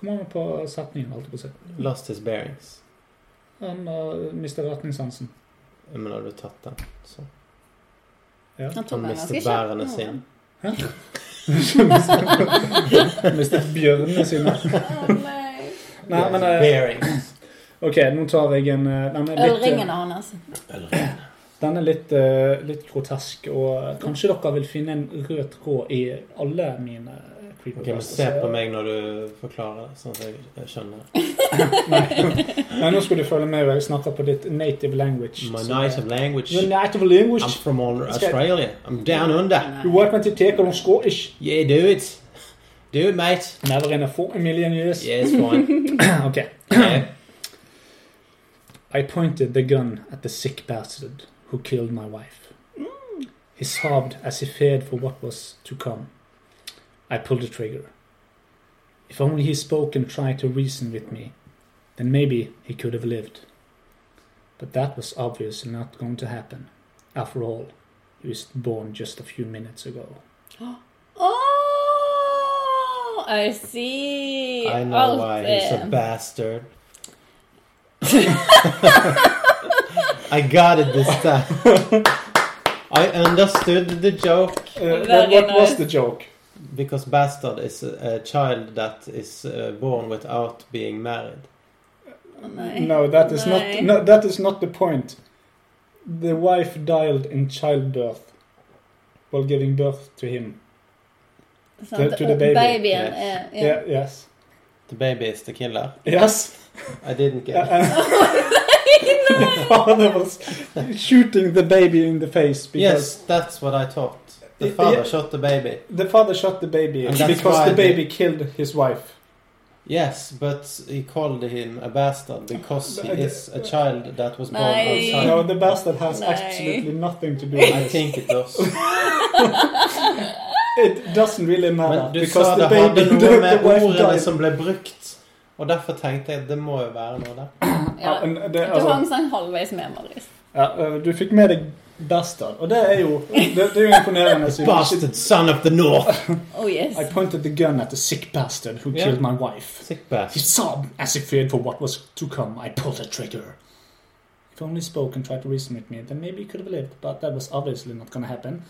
E: Kommer han på setningen, holdt jeg på å si.
C: Lost his bearings.
E: Han har mistet retningssansen.
C: Men hadde du tatt den, så
D: Han tok
C: Han
D: den ganske
C: mistet
D: kjapt.
C: bærene sine.
E: Mistet bjørnene sine.
D: Å, nei.
E: Nei, men eh,
C: Bearings.
E: OK, nå tar jeg en eh, Den er litt, eh,
D: Ølringene hans.
E: den er litt, eh, litt grotesk, og eh, kanskje dere vil finne en rød tråd i alle mine
C: Ok, men Se på meg når du forklarer det, sånn at jeg- jeg skjønner.
E: Nei, nå skal du følge med, og jeg snakker på ditt native language.
C: My
E: så-
C: native language.
E: Your native language.
C: I'm from all-
E: Skal jeg-
C: Australia. I'm down under.
E: You work when you take on Scottish.
C: Yeah, do it. Do it, mate.
E: Never in a four million years.
C: Yeah, it's fine.
E: Okay.
C: Yeah.
E: I pointed the gun at the sick bastard who killed my wife. He sobbed as he feared for what was to come. I pulled the trigger. If only he spoke and tried to reason with me, then maybe he could have lived. But that was obviously not going to happen. After all, he was born just a few minutes ago.
D: Oh, I see.
C: I know
D: Alt
C: why he's a
D: er-
C: bastard. I got it this time. I understood the joke
D: that- Very Uh, what was nice.
E: the joke?
C: because bastard is a, a child that is uh, born without being married.
D: Å, nei.
E: No, that is
D: Nei.
E: not. No, that is not the point. The wife died in childbirth while giving birth to him.
D: Sant?
E: to the
D: Og
E: baby.
D: Babyen
C: Yes.
D: er ja.
E: Yeah. Yes.
C: The baby is the killer.
E: Yes.
C: I didn't get it.
E: And the father was shooting the baby in the face because
C: Yes, that's what I thought. The
E: Yeah.
C: father shot the baby.
E: the father shot the baby
C: And that's
E: because
C: why
E: the
C: the-
E: baby killed his wife.
C: Yes, but he called him a bastard because he is a child that was born
D: Nei.
C: outside.
E: No, the bastard has
D: No.
E: absolutely nothing to do
C: I
E: with it.
C: think it does.
E: It doesn't really matter
C: Men du sa
E: because the
C: det hadde
E: baby, the,
C: noe med
E: wife
C: ordene
E: died.
C: som ble brukt, og derfor tenkte jeg at det må jo være noe der.
D: ja.
E: Ja, and
D: Du
E: det- altså-
D: hang sånn halvveis med, Marius.
E: Ja, eh, du fikk med deg bastard, og det er jo, det, det er jo imponerende. siden ikke-
C: Bastard son of the north!
D: Oh yes.
E: I pointed the gun at the sick bastard who
C: Yeah.
E: killed my wife.
C: Sick
E: He
C: bastard.
E: sobbed as he feared for what was to come. I pulled the trigger. If only spoke and tried to reason with me, then maybe he could have lived, but that was obviously not going to happen.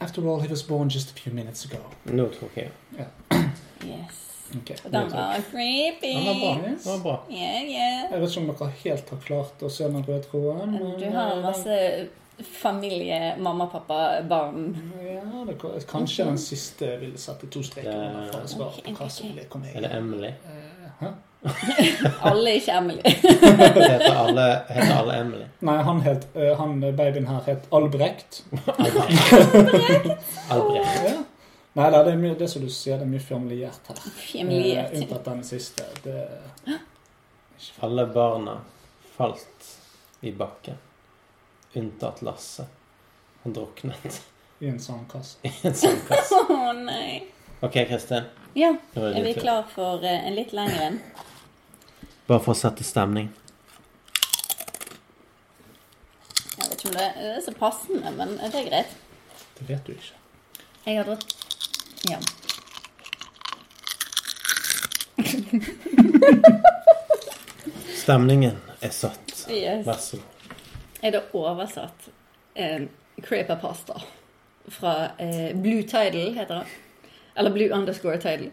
E: After all, he was born just a few minutes ago.
C: Nå tok jeg.
D: yes.
E: Okay.
D: Og den var creepy.
C: Den var bra. Den var bra.
D: Yeah, yeah.
E: Jeg vet ikke om dere helt har klart å se den røde tråden. men,
D: Du har
E: eh,
D: masse familie, mamma, pappa, barn.
E: Ja, det, kan- kanskje den siste ville sette to streker
C: Det-
E: under for å svare
D: Ok,
E: på hva
D: ok,
E: som
D: ok.
E: ville komme
C: Er det
E: igjen.
C: Emily?
E: Eh, hæ?
D: Alle ikke Emily.
C: Heter alle, heter alle Emily?
E: Nei, han, het, eh, han eh, babyen her het Albrecht.
C: Albrecht.
E: Ja. Nei, det er, mye, det er som du sier, det er mye familiært her. Eh,
D: Familiert.
E: unntatt den siste. Det,
C: Alle barna falt i bakken, unntatt Lasse. Han druknet
E: I en sånn sandkasse.
C: i en sandkasse.
D: Å nei.
C: Ok, Kristin.
D: Ja,
C: nå
D: er vi
C: din tur.
D: klar for eh, en litt lengre en?
C: Bare for å sette stemning.
D: Jeg vet ikke om det er så passende, men det er greit.
E: Det vet du ikke.
D: Jeg har dratt Ja.
C: Stemningen er satt.
D: Yes.
C: Vær så god.
D: Er det oversatt eh, Crepa pasta fra eh, Blue Tidal, heter det. Eller Blue underscore Tidal.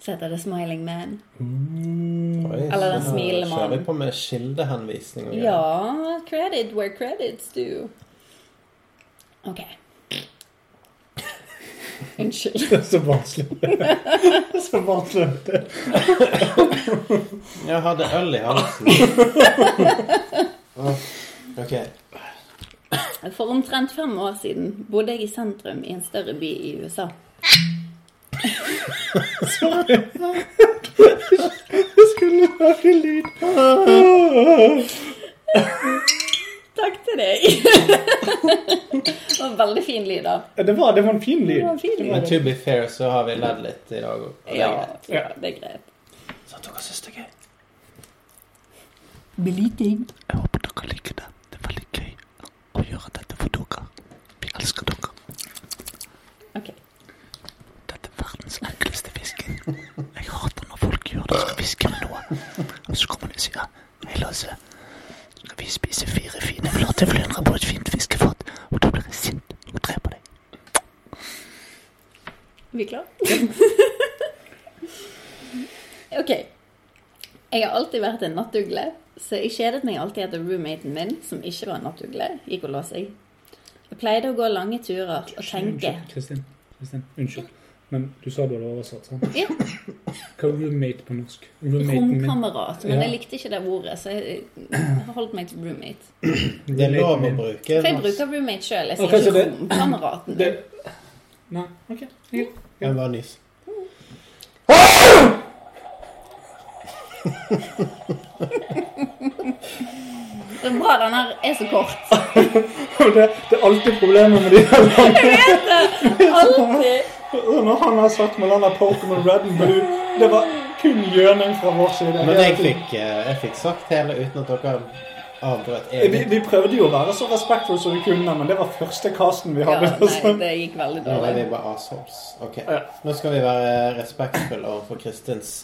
D: Så heter det Smiling Man. Eller den smilende
C: Nå Kjører
D: mannen.
C: vi på med kildehenvisning og greier.
D: Ja, credit where credit's due. Ok. Unnskyld.
E: Det er så vanskelig. Det er så vanskelig.
C: Jeg hadde øl i halsen. Ah, OK.
D: For omtrent fem år siden bodde jeg i sentrum i en større by i USA.
E: Det skulle være lyd.
D: Takk til deg. det var veldig fin lyd, da.
E: Ja, Eh, Det var, det var en fin
D: Det
E: lyd.
D: var en fin
C: Men
D: lyd.
C: to be fair så har vi ledd litt i dag òg.
D: Ja, ja, det er greit.
F: Så at dere syns det er gøy.
D: Beliting.
A: Jeg håper dere liker det. Det er veldig gøy å gjøre dette for dere. Vi elsker dere.
D: Ok.
A: Dette er verdens enkleste fisking. Jeg hater når folk gjør det, skal fiske med noe. Og så kommer de og sier Hei, Lasse. Skal vi spise fire fine flate flyndre på et fint fiskefat? Og da blir jeg sint og dreper deg.
D: Er vi klare? ok. Jeg har alltid vært en nattugle, så jeg kjedet meg alltid etter roommaten min, som ikke var en nattugle, gikk og la seg. Jeg pleide å gå lange turer og tenke.
E: Unnskyld, Kristin. Kristin, unnskyld. Men du sa du hadde oversatt, sant?
D: Ja.
E: Hva er roommate på norsk? Roommaten min.
D: Romkamerat. Men
E: Ja.
D: jeg likte ikke det ordet, så jeg jeg holdt meg til roommate.
C: Det er lov å
E: min.
C: bruke
D: For jeg bruker roommate sjøl. Jeg sier
E: Ok, så
D: ikke
E: det-
D: romkameraten.
E: Det... Nei, ok. Ja.
F: Hvem var nys?
D: Det er bra den her er så kort.
E: Og Det, det er alltid problemer med de her landene.
D: Alltid.
E: Og Når han har sagt med den der Pokémon Red and Blue, det var kun gjøning fra vår side.
C: Men jeg fikk, eh, jeg fikk sagt hele uten at dere avbrøt.
E: Vi,
C: Jeg,
E: vi prøvde jo å være så respektfulle som vi kunne, men det var første casten vi
D: Ja,
E: hadde.
D: nei, det gikk veldig
C: nå er
D: dårlig.
C: vi bare assholes. Ok.
E: Ja.
C: Nå skal vi være respektfulle overfor Kristins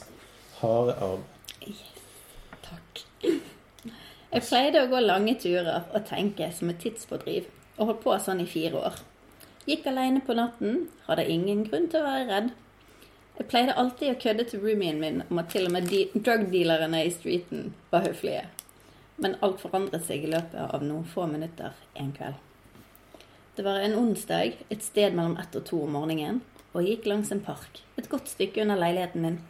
C: harde arm.
D: Takk. Jeg pleide å gå lange turer og tenke som et tidspådriv, og holdt på sånn i fire år. Gikk alene på natten, hadde ingen grunn til å være redd. Jeg pleide alltid å kødde til roomien min om at til og med de drugdealerne i streeten var høflige. Men alt forandret seg i løpet av noen få minutter en kveld. Det var en onsdag, et sted mellom ett og to om morgenen, og jeg gikk langs en park, et godt stykke under leiligheten min.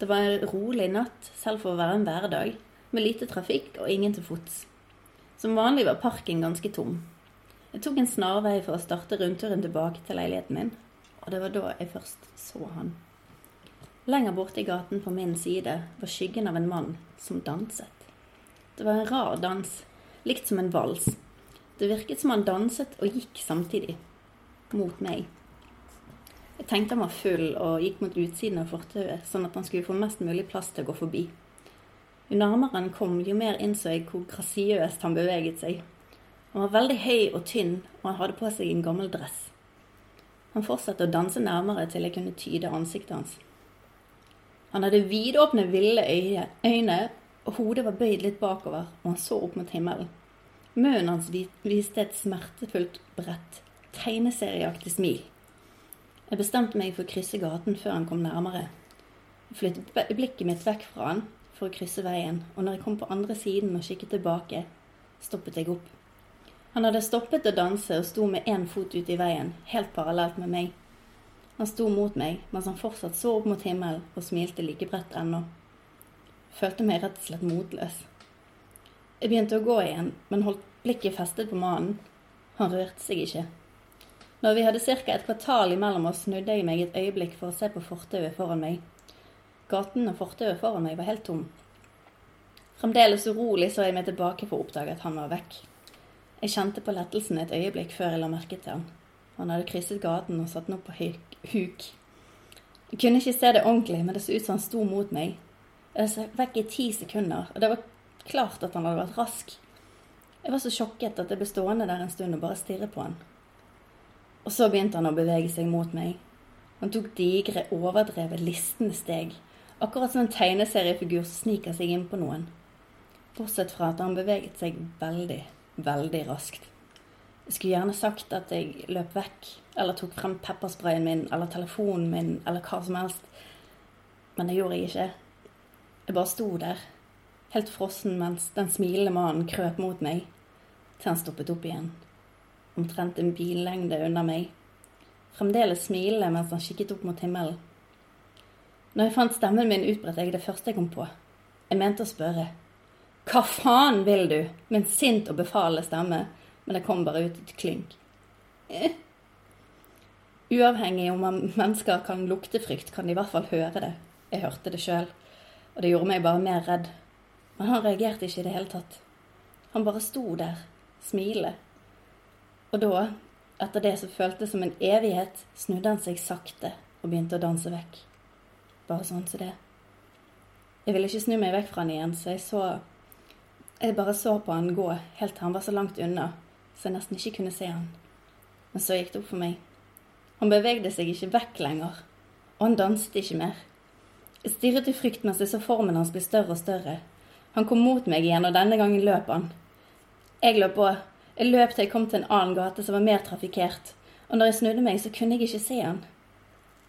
D: Det var en rolig natt, selv for å være en hverdag, med lite trafikk og ingen til fots. Som vanlig var parken ganske tom. Jeg tok en snarvei for å starte rundturen tilbake til leiligheten min, og det var da jeg først så han. Lenger borte i gaten på min side var skyggen av en mann som danset. Det var en rar dans, likt som en vals. Det virket som han danset og gikk samtidig, mot meg. Jeg tenkte han var full og gikk mot utsiden av fortauet, sånn at han skulle få mest mulig plass til å gå forbi. Jo nærmere han kom, jo mer innså jeg hvor grasiøst han beveget seg. Han var veldig høy og tynn, og han hadde på seg en gammel dress. Han fortsatte å danse nærmere til jeg kunne tyde ansiktet hans. Han hadde vidåpne, ville øye- øyne, og hodet var bøyd litt bakover, og han så opp mot himmelen. Munnen hans vi- viste et smertefullt, bredt, tegneserieaktig smil. Jeg bestemte meg for å krysse gaten før han kom nærmere. Jeg flyttet be- blikket mitt vekk fra han for å krysse veien, og når jeg kom på andre siden og kikket tilbake, stoppet jeg opp. Han hadde stoppet å danse og sto med én fot ut i veien, helt parallelt med meg. Han sto mot meg mens han fortsatt så opp mot himmelen og smilte like bredt ennå. Følte meg rett og slett motløs. Jeg begynte å gå igjen, men holdt blikket festet på mannen. Han rørte seg ikke. Når vi hadde ca. et kvartal imellom oss, snudde jeg meg et øyeblikk for å se på fortauet foran meg. Gaten og fortauet foran meg var helt tom. Fremdeles urolig så jeg meg tilbake for å oppdage at han var vekk. Jeg kjente på lettelsen et øyeblikk før jeg la merke til han. Han hadde krysset gaten og satt den opp på høyk- huk. Jeg kunne ikke se det ordentlig, men det så ut som han sto mot meg. Jeg så vekk i ti sekunder, og det var klart at han hadde vært rask. Jeg var så sjokket at jeg ble stående der en stund og bare stirre på han. Og så begynte han å bevege seg mot meg. Han tok digre, overdrevet, listende steg. Akkurat som en tegneseriefigur som sniker seg inn på noen. Bortsett fra at han beveget seg veldig, veldig raskt. Jeg skulle gjerne sagt at jeg løp vekk, eller tok frem peppersprayen min, eller telefonen min, eller hva som helst. Men det gjorde jeg ikke. Jeg bare sto der, helt frossen mens den smilende mannen krøp mot meg, til han stoppet opp igjen omtrent en billengde unna meg. fremdeles smilende mens han kikket opp mot himmelen. Når jeg fant stemmen min, utbredte jeg det første jeg kom på. Jeg mente å spørre. Hva faen vil du? Med en sint og befalende stemme, men det kom bare ut et klynk. Eh. Uavhengig om man- mennesker kan lukte frykt, kan de i hvert fall høre det. Jeg hørte det sjøl, og det gjorde meg bare mer redd. Men han reagerte ikke i det hele tatt. Han bare sto der, smilende. Og da, etter det som føltes som en evighet, snudde han seg sakte og begynte å danse vekk. Bare sånn som det. Jeg ville ikke snu meg vekk fra han igjen, så jeg så Jeg bare så på han gå, helt til han var så langt unna, så jeg nesten ikke kunne se han. Men så gikk det opp for meg. Han bevegde seg ikke vekk lenger, og han danset ikke mer. Jeg stirret i frykt mens jeg så formen hans bli større og større. Han kom mot meg igjen, og denne gangen løp han. Jeg løp på. Jeg løp til jeg kom til en annen gate som var mer trafikkert, og når jeg snudde meg, så kunne jeg ikke se han.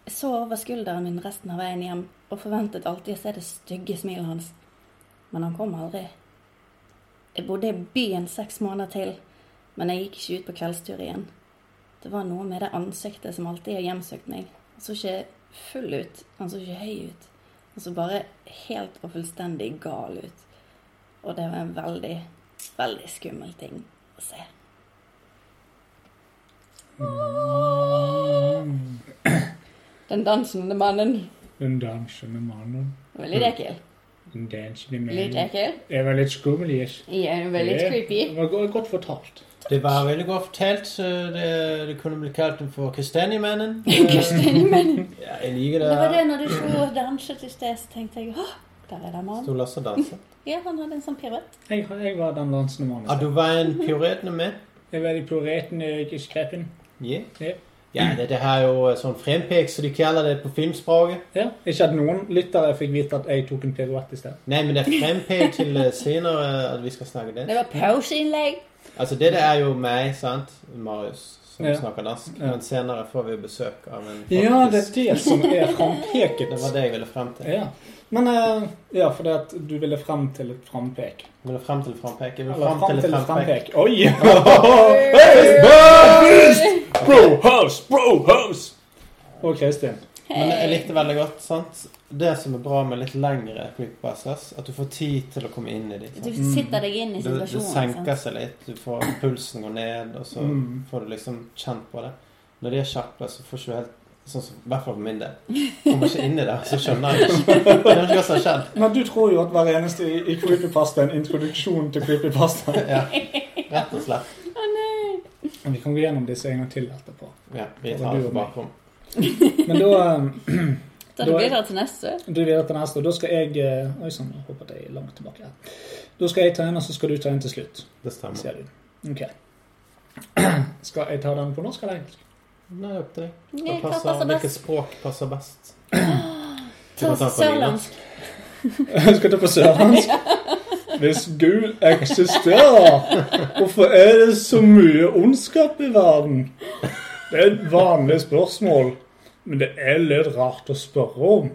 D: Jeg så over skulderen min resten av veien hjem og forventet alltid å se det stygge smilet hans, men han kom aldri. Jeg bodde i byen seks måneder til, men jeg gikk ikke ut på kveldstur igjen. Det var noe med det ansiktet som alltid har hjemsøkt meg. Han så ikke full ut, han så ikke høy ut. Han så bare helt og fullstendig gal ut. Og det var en veldig, veldig skummel ting å se. Den dansende mannen.
E: Den dansende mannen.
D: Veldig ekkel.
E: Den dansende mannen.
D: Litt ekkel.
E: Det var litt skummel, yes.
D: Ja, veldig
E: Det
D: creepy.
E: var go- godt fortalt.
C: Det var veldig godt fortalt. så Det, det kunne bli kalt for kastanjemannen.
D: Kastanjemannen.
C: Ja, jeg liker
D: Det var det
C: det.
D: når du så danset i sted, så tenkte jeg åh, der er det mann.
C: Sto Lasse og danset.
D: Ja, han hadde en sånn piruett.
E: Jeg, jeg var den dansende mannen.
C: Ja, du var en pioretene med?
E: Jeg var i pureten i skrepen.
C: Yeah.
E: Ja.
C: Ja, dette her er jo sånn frempek, som de kaller det på filmspråket.
E: Ja. Ikke at noen lyttere fikk vite at jeg tok en piruett i sted.
C: Nei, men det er frempek til eh, senere at vi skal snakke det.
D: Det var pauseinnlegg.
C: Altså, det der er jo meg, sant? Marius, som
E: Ja.
C: snakker dansk.
E: Ja.
C: Men senere får vi besøk av en
E: Ja, det er
C: faktisk-
E: det som er frampeket.
C: Det var det jeg ville frem til.
E: Ja. Men eh, ja, fordi at du ville frem til et frampek.
C: Jeg ville frem til frampek. Jeg ville
E: Eller
C: frem til et frampek.
E: Oi! Bro house, bro house! Og Kristin.
C: Men
D: Eh.
C: jeg likte veldig godt, sant? Det som er bra med litt lengre flypasses, at du får tid til å komme inn i det.
D: Du
C: sant?
D: sitter deg inn i
C: Du, du
D: situasjonen.
C: senker
D: sant?
C: seg litt, du får pulsen går ned, og så
E: Mm.
C: får du liksom kjent på det. Når de er kjappe, så får du ikke helt Sånn som, I hvert fall for min del. Kommer ikke inn i det, så skjønner jeg ikke. Jeg vet ikke hva som har skjedd.
E: Men du tror jo at hver eneste i, i creepypasta er en introduksjon til creepypasta.
C: Ja, rett og slett.
D: Å nei.
E: Men Vi kan gå gjennom disse en gang til etterpå.
C: Ja, vi tar det på bakrom.
E: Men da eh,
D: Da
E: Da er-
D: blir det til neste.
E: du er videre til neste, og da skal jeg eh, Oi sann, jeg håper at jeg er langt tilbake her. Da skal jeg ta en, og så skal du ta en til slutt.
C: Det stemmer.
E: Sier du. Ok. Skal jeg ta den på norsk eller engelsk?
C: Nei, det er opp til deg. Hva
D: Nei, Hva
C: passer,
D: passer
C: hvilket
D: best?
C: språk passer best? Du
D: Ta
C: kan ta på
D: sørlandsk.
E: Jeg skal ta på sørlandsk. Hvis Gud eksisterer, hvorfor er det så mye ondskap i verden? Det er et vanlig spørsmål, men det er litt rart å spørre om.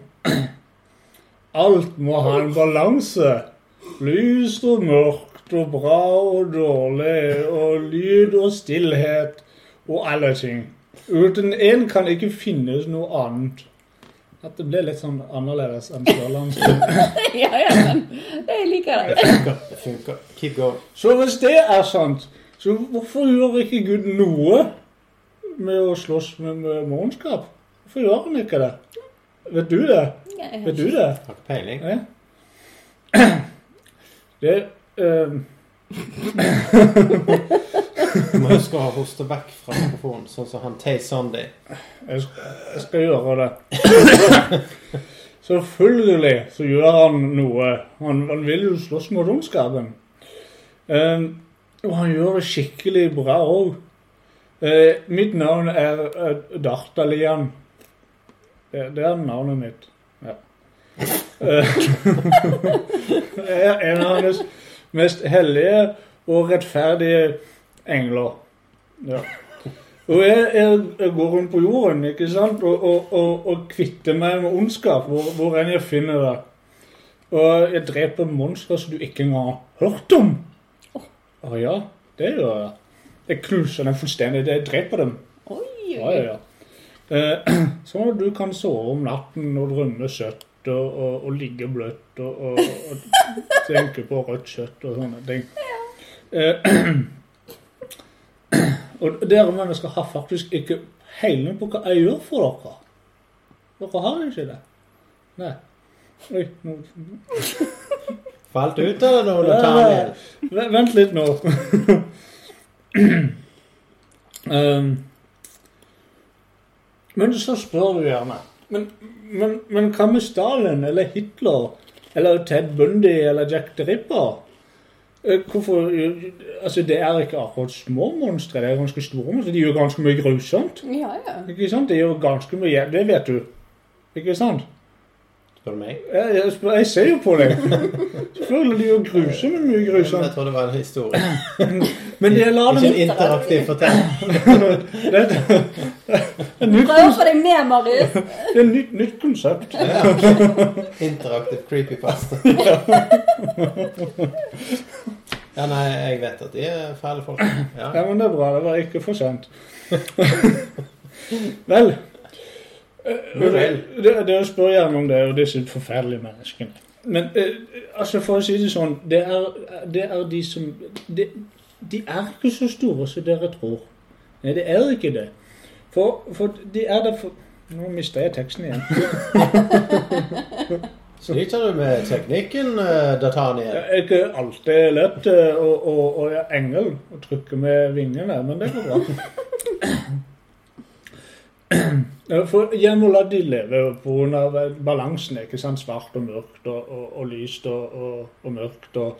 E: Alt må ha en balanse. Lyst og mørkt og bra og dårlig og lyd og stillhet og alle ting. Uten én kan ikke finnes noe annet. Dette ble litt sånn annerledes enn sørlandsk.
D: Ja, ja, men jeg liker det.
C: funker. Det funker. Keep going.
E: Så hvis det er sant, så hvorfor gjør ikke Gud noe med å slåss med, med morgenskap? Hvorfor gjør han ikke det? Vet du det?
D: Jeg
E: Vet du det?
C: Har ikke peiling.
E: Ja. Det ehm,
C: Du må huske å ha hoste vekk fra mikrofonen, sånn som han Tay Sunday.
E: jeg, sk- jeg skal gjøre det. Selvfølgelig så gjør han noe. Han, han vil jo slåss mot ondskapen. Ehm, og han gjør det skikkelig bra òg. mitt navn er eh, Dartalian. Det, det er navnet mitt. Ja. Eh, jeg er en av hans mest hellige og rettferdige engler. Ja. Og jeg, jeg, jeg går rundt på jorden ikke sant? Og, og, og, og kvitter meg med ondskap hvor, hvor enn jeg finner det. Og jeg dreper monstre som du ikke engang har hørt om. Å ja, det gjør jeg. Jeg knuser dem fullstendig. Jeg dreper dem.
D: Oi,
E: Ja,
D: oi.
E: ja, ja. Eh, Så du kan sove om natten og drømme søtt og, og, og ligge bløtt og, og, og tenke på rødt kjøtt og sånne ting. Eh, Og dere mennesker har faktisk ikke peiling på hva jeg gjør for dere. Dere har ikke det. Nei. Oi, nå
C: Falt ut av det nå, Nathaniel.
E: V- Vent litt nå. um, men så spør du gjerne. Men, men, men hva med Stalin eller Hitler eller Ted Bundy eller Jack the Ripper? Eh, Hvorfor Altså, det er ikke akkurat små monstre, det er ganske store monstre. De gjør ganske mye grusomt.
D: Ja, ja.
E: Ikke sant? De gjør ganske mye Det vet du. Ikke sant?
C: Spør du meg?
E: Jeg, jeg, spør- jeg ser jo på deg. Selvfølgelig de gjør grusomt mye
C: Jeg
E: grusomt.
C: tror det var en historie.
E: Men jeg lar
C: Ikke
E: dem
C: en interaktiv fortelling.
E: Det er et nytt,
D: Prøv å få deg med, Marius.
E: det er et nytt, nytt konsept.
C: Ja, ok. Interaktiv creepypasta. Ja, nei, jeg vet at de er fæle folk. Ja.
E: Ja, men det er bra. Det var ikke for sent. Vel.
C: Jo vel.
E: Dere dere spør gjerne om det, og disse forferdelige menneskene. Men eh, altså, for å si det sånn, det er, det er de som det, De er ikke så store som dere tror. Nei, det er ikke det. For, for de er der for Nå mista jeg teksten igjen.
C: Sliter du med teknikken, eh,
E: Det
C: Dataniel?
E: er ikke alltid lett eh, å, å, å være engel og trykke med vingene, men det går bra. Eh, For jeg må la de leve pga. eh, balansen. ikke sant? Svart og mørkt og, og, og lyst og, og, og mørkt og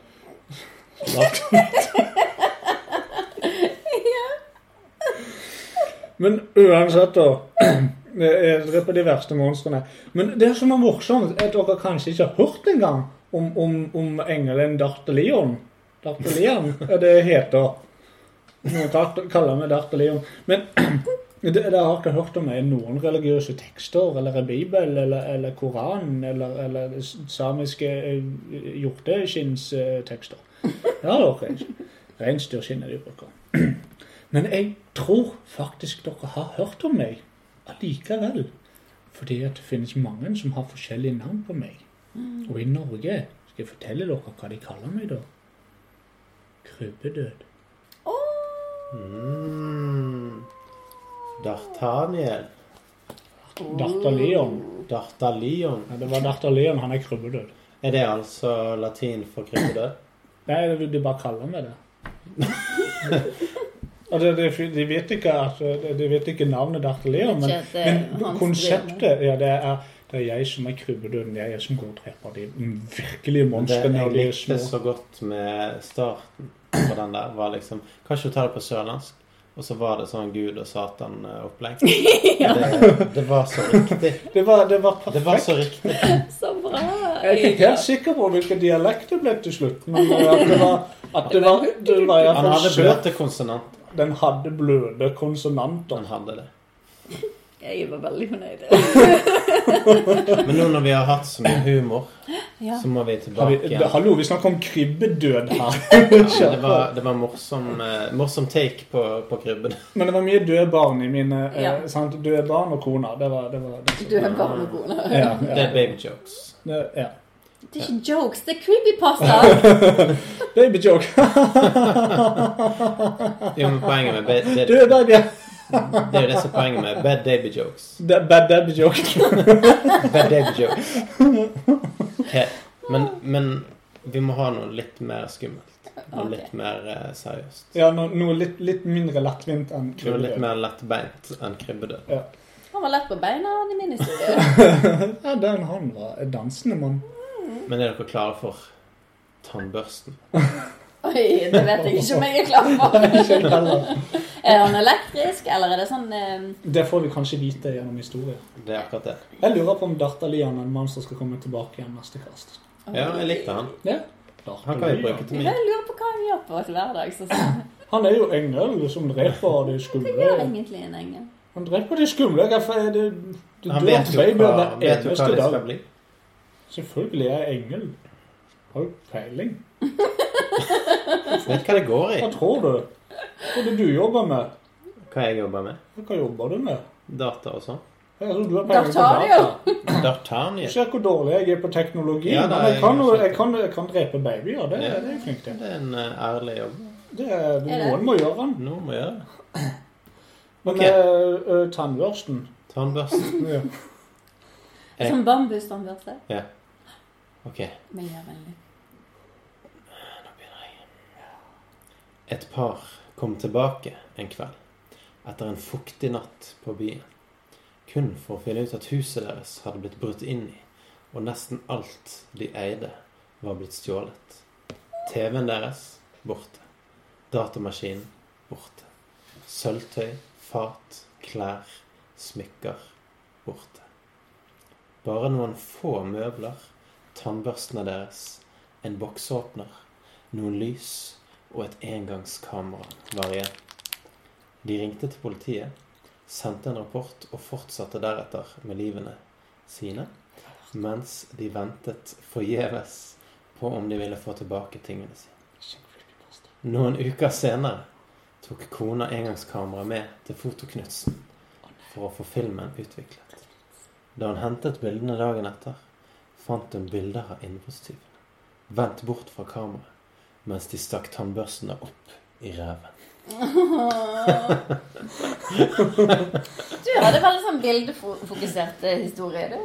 E: svart. Men uansett, da. Jeg dreper de verste monstrene. Men det som er morsomt, er at dere kanskje ikke har hørt engang om, om, om engelen Dartelion. Dartelion, ja, det heter Noen Dart- kaller meg Dartelion. Men det- dere har ikke hørt om det i noen religiøse tekster, eller i Bibelen, eller, eller Koranen, eller, eller s- samiske eh, hjorteskinnstekster. Det har dere ikke. Reinsdyrskinn er det de bruker. Men jeg tror faktisk dere har hørt om meg allikevel. Fordi at det finnes mange som har forskjellige navn på meg. Og i Norge skal jeg fortelle dere hva de kaller meg da. Krybbedød.
C: Mm. D'Artaniel.
E: Datter Leon.
C: D'Artalion.
E: Ja, det var datter Leon, han er krybbedød.
C: Er det altså latin for krypedød?
E: Nei, det vil de bare kalle meg det. Og det, det, de, vet ikke at, de eh, vet ikke navnet Datter Leon, men,
D: Ikke at det er
E: men
D: hans
E: konseptet ja, det, er, det er jeg som er krybbedøden. Det er jeg som går og dreper de virkelige
C: Det
E: monstrene.
C: jeg
E: når de er
C: likte
E: små.
C: så godt med starten på den der, var liksom Kan ikke du ta det på sørlandsk? Og så var det sånn Gud og Satan-opplegg. det, det var så riktig.
E: Det var, det var
C: Det var så riktig.
D: Så bra.
E: Jeg er ikke helt sikker på hvilken dialekt det ble til slutt, men at det var, at det var, det var i hvert
C: Han
E: fall
C: hadde
E: søt.
C: bløte konsonanter.
E: Den hadde bløde konsonanter.
C: Han hadde det.
D: Jeg var veldig fornøyd.
C: Men nå når vi har hatt så mye humor,
D: Ja.
C: så må vi
E: Har
C: tilbake
E: vi, det,
C: igjen.
E: hallo, vi snakker om krybbedød her.
C: Ja, det var, det var morsom, eh, morsom take på, på krybben.
E: Men det var mye døde barn i mine eh,
D: Ja.
E: sant? Døde barn og kona. Det var, det var det som-
D: Du er barnekone.
E: ja,
C: Det
E: ja.
C: er baby jokes.
E: Det, ja.
D: Det er ikke jokes, det er creepypasta.
E: Baby joke.
C: Jo, men poenget med bad, det,
E: Døde baby.
C: det er jo det som er poenget med bad baby jokes.
E: Det er Bad baby joke.
C: Bad baby jokes. Ok, Men, men vi må ha noe litt mer skummelt. Og litt mer eh, seriøst.
E: Ja, no, noe litt, litt mindre lettvint enn
C: Noe litt
E: krybbedød.
C: mer lettbeint enn krybbedød.
E: Ja.
D: Han var lett på beina han i min historie.
E: ja, den han var en dansende mann.
C: Men er dere klare for tannbørsten?
D: Oi, det vet jeg ikke om jeg er klar for.
E: Ikke jeg heller.
D: Er han elektrisk, eller er det sånn eh,
E: Det får vi kanskje vite gjennom historien.
C: Det er akkurat det.
E: Jeg lurer på om Dartalian er en mann som skal komme tilbake igjen neste kast.
C: Ja, jeg likte han.
E: Ja.
C: Han kan vi bruke til mye.
D: Jeg lurer på hva han gjør på hver dag. Så sånn.
E: Han er jo engel som dreper de skumle.
D: Det er egentlig en engel.
E: Han dreper de skumle. Hvorfor er det Du
C: Han
E: dør
C: vet jo
E: babyer
C: hva,
E: hver
C: vet
E: eneste
C: jo hva det skal
E: dag.
C: bli.
E: Selvfølgelig er jeg engel. Har jo peiling.
C: Vet hva det går i.
E: Hva tror du? Hva er det du jobber med?
C: Hva jeg jobber med.
E: Hva jobber du med?
C: data og sånn.
E: Jeg tror du har
D: Da
E: peiling på
D: tar det jo.
E: data.
C: Dartania.
E: Ser hvor dårlig jeg er på teknologi.
C: Ja,
E: men
C: nei,
E: jeg kan, jo-
C: jeg skjønner.
E: jeg, kan, jeg kan drepe babyer. Det, det
C: Ja.
E: er jeg flink til.
C: Det er en eh, ærlig jobb.
E: Det, er-
D: det?
E: noen må gjøre den.
C: Noen må gjøre det.
E: Men
C: Ok.
E: eh, eh, tannbørsten
C: Tannbørsten.
E: ja.
C: Eh.
D: Som bambustannbørste.
C: OK.
D: Miljøvennlig.
F: Nå begynner jeg.
C: Et par kom tilbake en kveld etter en fuktig natt på byen. Kun for å finne ut at huset deres hadde blitt brutt inn i, og nesten alt de eide, var blitt stjålet. TV-en deres borte. Datamaskinen borte. Sølvtøy, fat, klær, smykker borte. Bare noen få møbler, tannbørstene deres, en boksåpner, noen lys og et engangskamera var igjen. De ringte til politiet, sendte en rapport og fortsatte deretter med livene sine, mens de ventet forgjeves på om de ville få tilbake tingene sine. Noen uker senere tok kona engangskameraet med til Fotoknutsen for å få filmen utviklet. Da hun hentet bildene dagen etter, fant hun bilder av innbruddstyvene vendt bort fra kameraet mens de stakk tannbørstene opp i reven.
D: Du hadde veldig sånn bildefokusert eh, historie, du.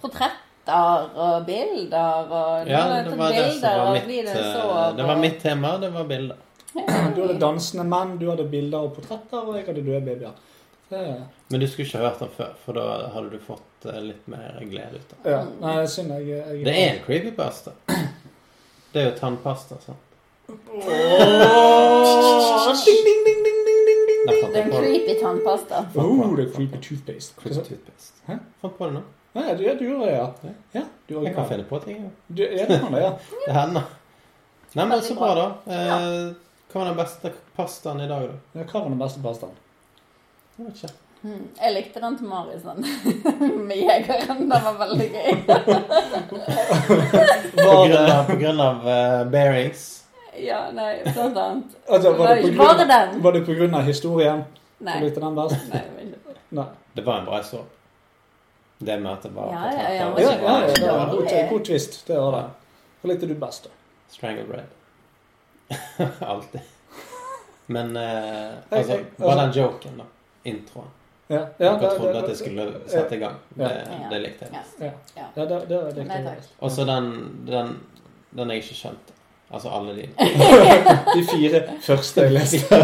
D: Portretter og bilder og
C: Ja,
D: var
C: det
D: sånn
C: var det som
D: bilder
C: var
D: av
C: mitt,
D: livet
C: eh,
D: så
C: det
D: på-
C: var mitt tema. Det var bilder.
E: Du hadde dansende menn, du hadde bilder og portretter, og jeg hadde døde babyer. Det,
C: Men du skulle ikke ha hørt den før, for da hadde du fått eh, litt mer glede ut av
E: ja. Nei, det er synd jeg, jeg
C: det. Det er en creepypasta. Det er jo tannpasta, sant?
E: Ding, ding, ding, ding, ding, ding, ding.
C: Jeg fant
D: Det er en
C: på det.
D: creepy tannpasta.
E: Oh, det er creepy toothpaste. Hva
C: Creepy
E: sa-
C: toothpaste.
E: Hæ?
C: Fant på det nå.
E: Nei, du, ja, du gjorde det, ja. ja du
C: Jeg kan
E: gjorde det.
C: finne på ting. jeg.
E: Du, ja, du kan det, ja.
C: Det hender. Nei, men
D: Veldig
C: så
D: bra.
C: bra, da. Eh, Hva var den beste pastaen i dag, da?
E: Ja, Hva var den beste pastaen?
C: Jeg vet ikke.
D: Mm. Jeg likte den til Marius, den med jegeren. Den var veldig gøy.
C: På
E: Var
C: grunn
E: det,
C: av, på grunn av eh, bearings.
D: Ja, nei, blant annet.
E: altså, var det, på
D: Ikke bare
E: grunn,
D: den.
E: var det på grunn av historien?
D: Nei.
E: Du likte den best?
D: nei, men-
E: Nei.
C: Det var en bra historie. Det med at det var
D: Ja, ja,
C: portretter
E: Ja,
D: ja,
C: og
E: ja,
C: så
E: ja,
C: var det-
E: det var
D: Ja.
E: en god, god twist. Det var det. Hva likte du best, da?
C: Stranglebread. Alltid. Men eh,
E: Jeg-
C: altså,
E: jeg-
C: bare den joken, da. Introen.
E: Ja, ja,
C: Dere
E: det-
C: trodde
E: det-
C: at jeg skulle sette i gang.
E: Ja.
C: Det, det likte jeg.
D: Ja.
E: Ja,
D: Ja.
E: ja det, det likte
D: Nei,
E: jeg
D: takk.
E: best.
C: Og så den, den, den jeg ikke skjønte. Altså alle de.
E: De fire første jeg leste.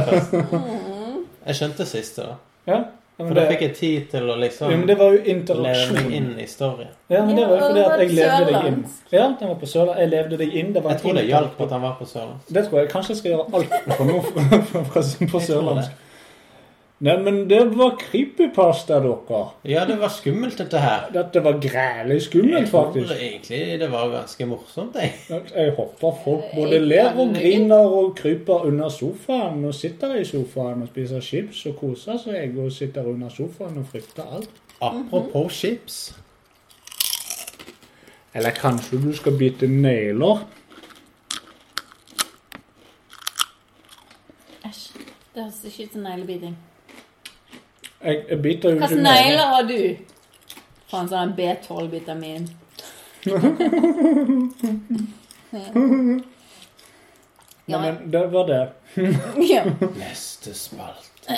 C: Jeg skjønte siste, da.
E: Ja, ja,
C: For
E: men
C: da
E: det,
C: fikk jeg tid til å liksom
E: ja, men det var jo
C: leve meg
E: interaksjon.
C: inn i storyen.
E: Ja, men det var jo
D: Ja,
E: fordi
D: og
E: at
D: det
E: jeg
D: var
E: levde deg inn.
D: sørlandsk.
E: Ja, den var på Sørlandet. Jeg levde deg inn. Det var
C: Jeg tror det
E: en
C: hjalp at han var på Sørlandet.
E: Det tror jeg. Kanskje jeg skal gjøre alt fra nå fra- fra- fra- på
C: Jeg tror
E: sørlandsk. Nei, men det var creepypasta, dere.
C: Ja, det var skummelt, dette her.
E: Dette var grælig skummelt,
C: Jeg tror
E: faktisk.
C: egentlig det var ganske morsomt, jeg.
E: Jeg håper folk både ler og griner og kryper under sofaen og sitter i sofaen og spiser chips og koser seg og sitter under sofaen og frykter alt.
C: Apropos chips.
E: Eller kanskje du skal bite negler?
D: Æsj. Det høres ikke ut som neglebiting.
E: Jeg, jeg biter jo
D: Hva
E: ikke
D: slags Altså, negler har du? Faen, sånn B12-vitamin.
E: Nei, men det var det.
D: Ja.
C: Neste spalt.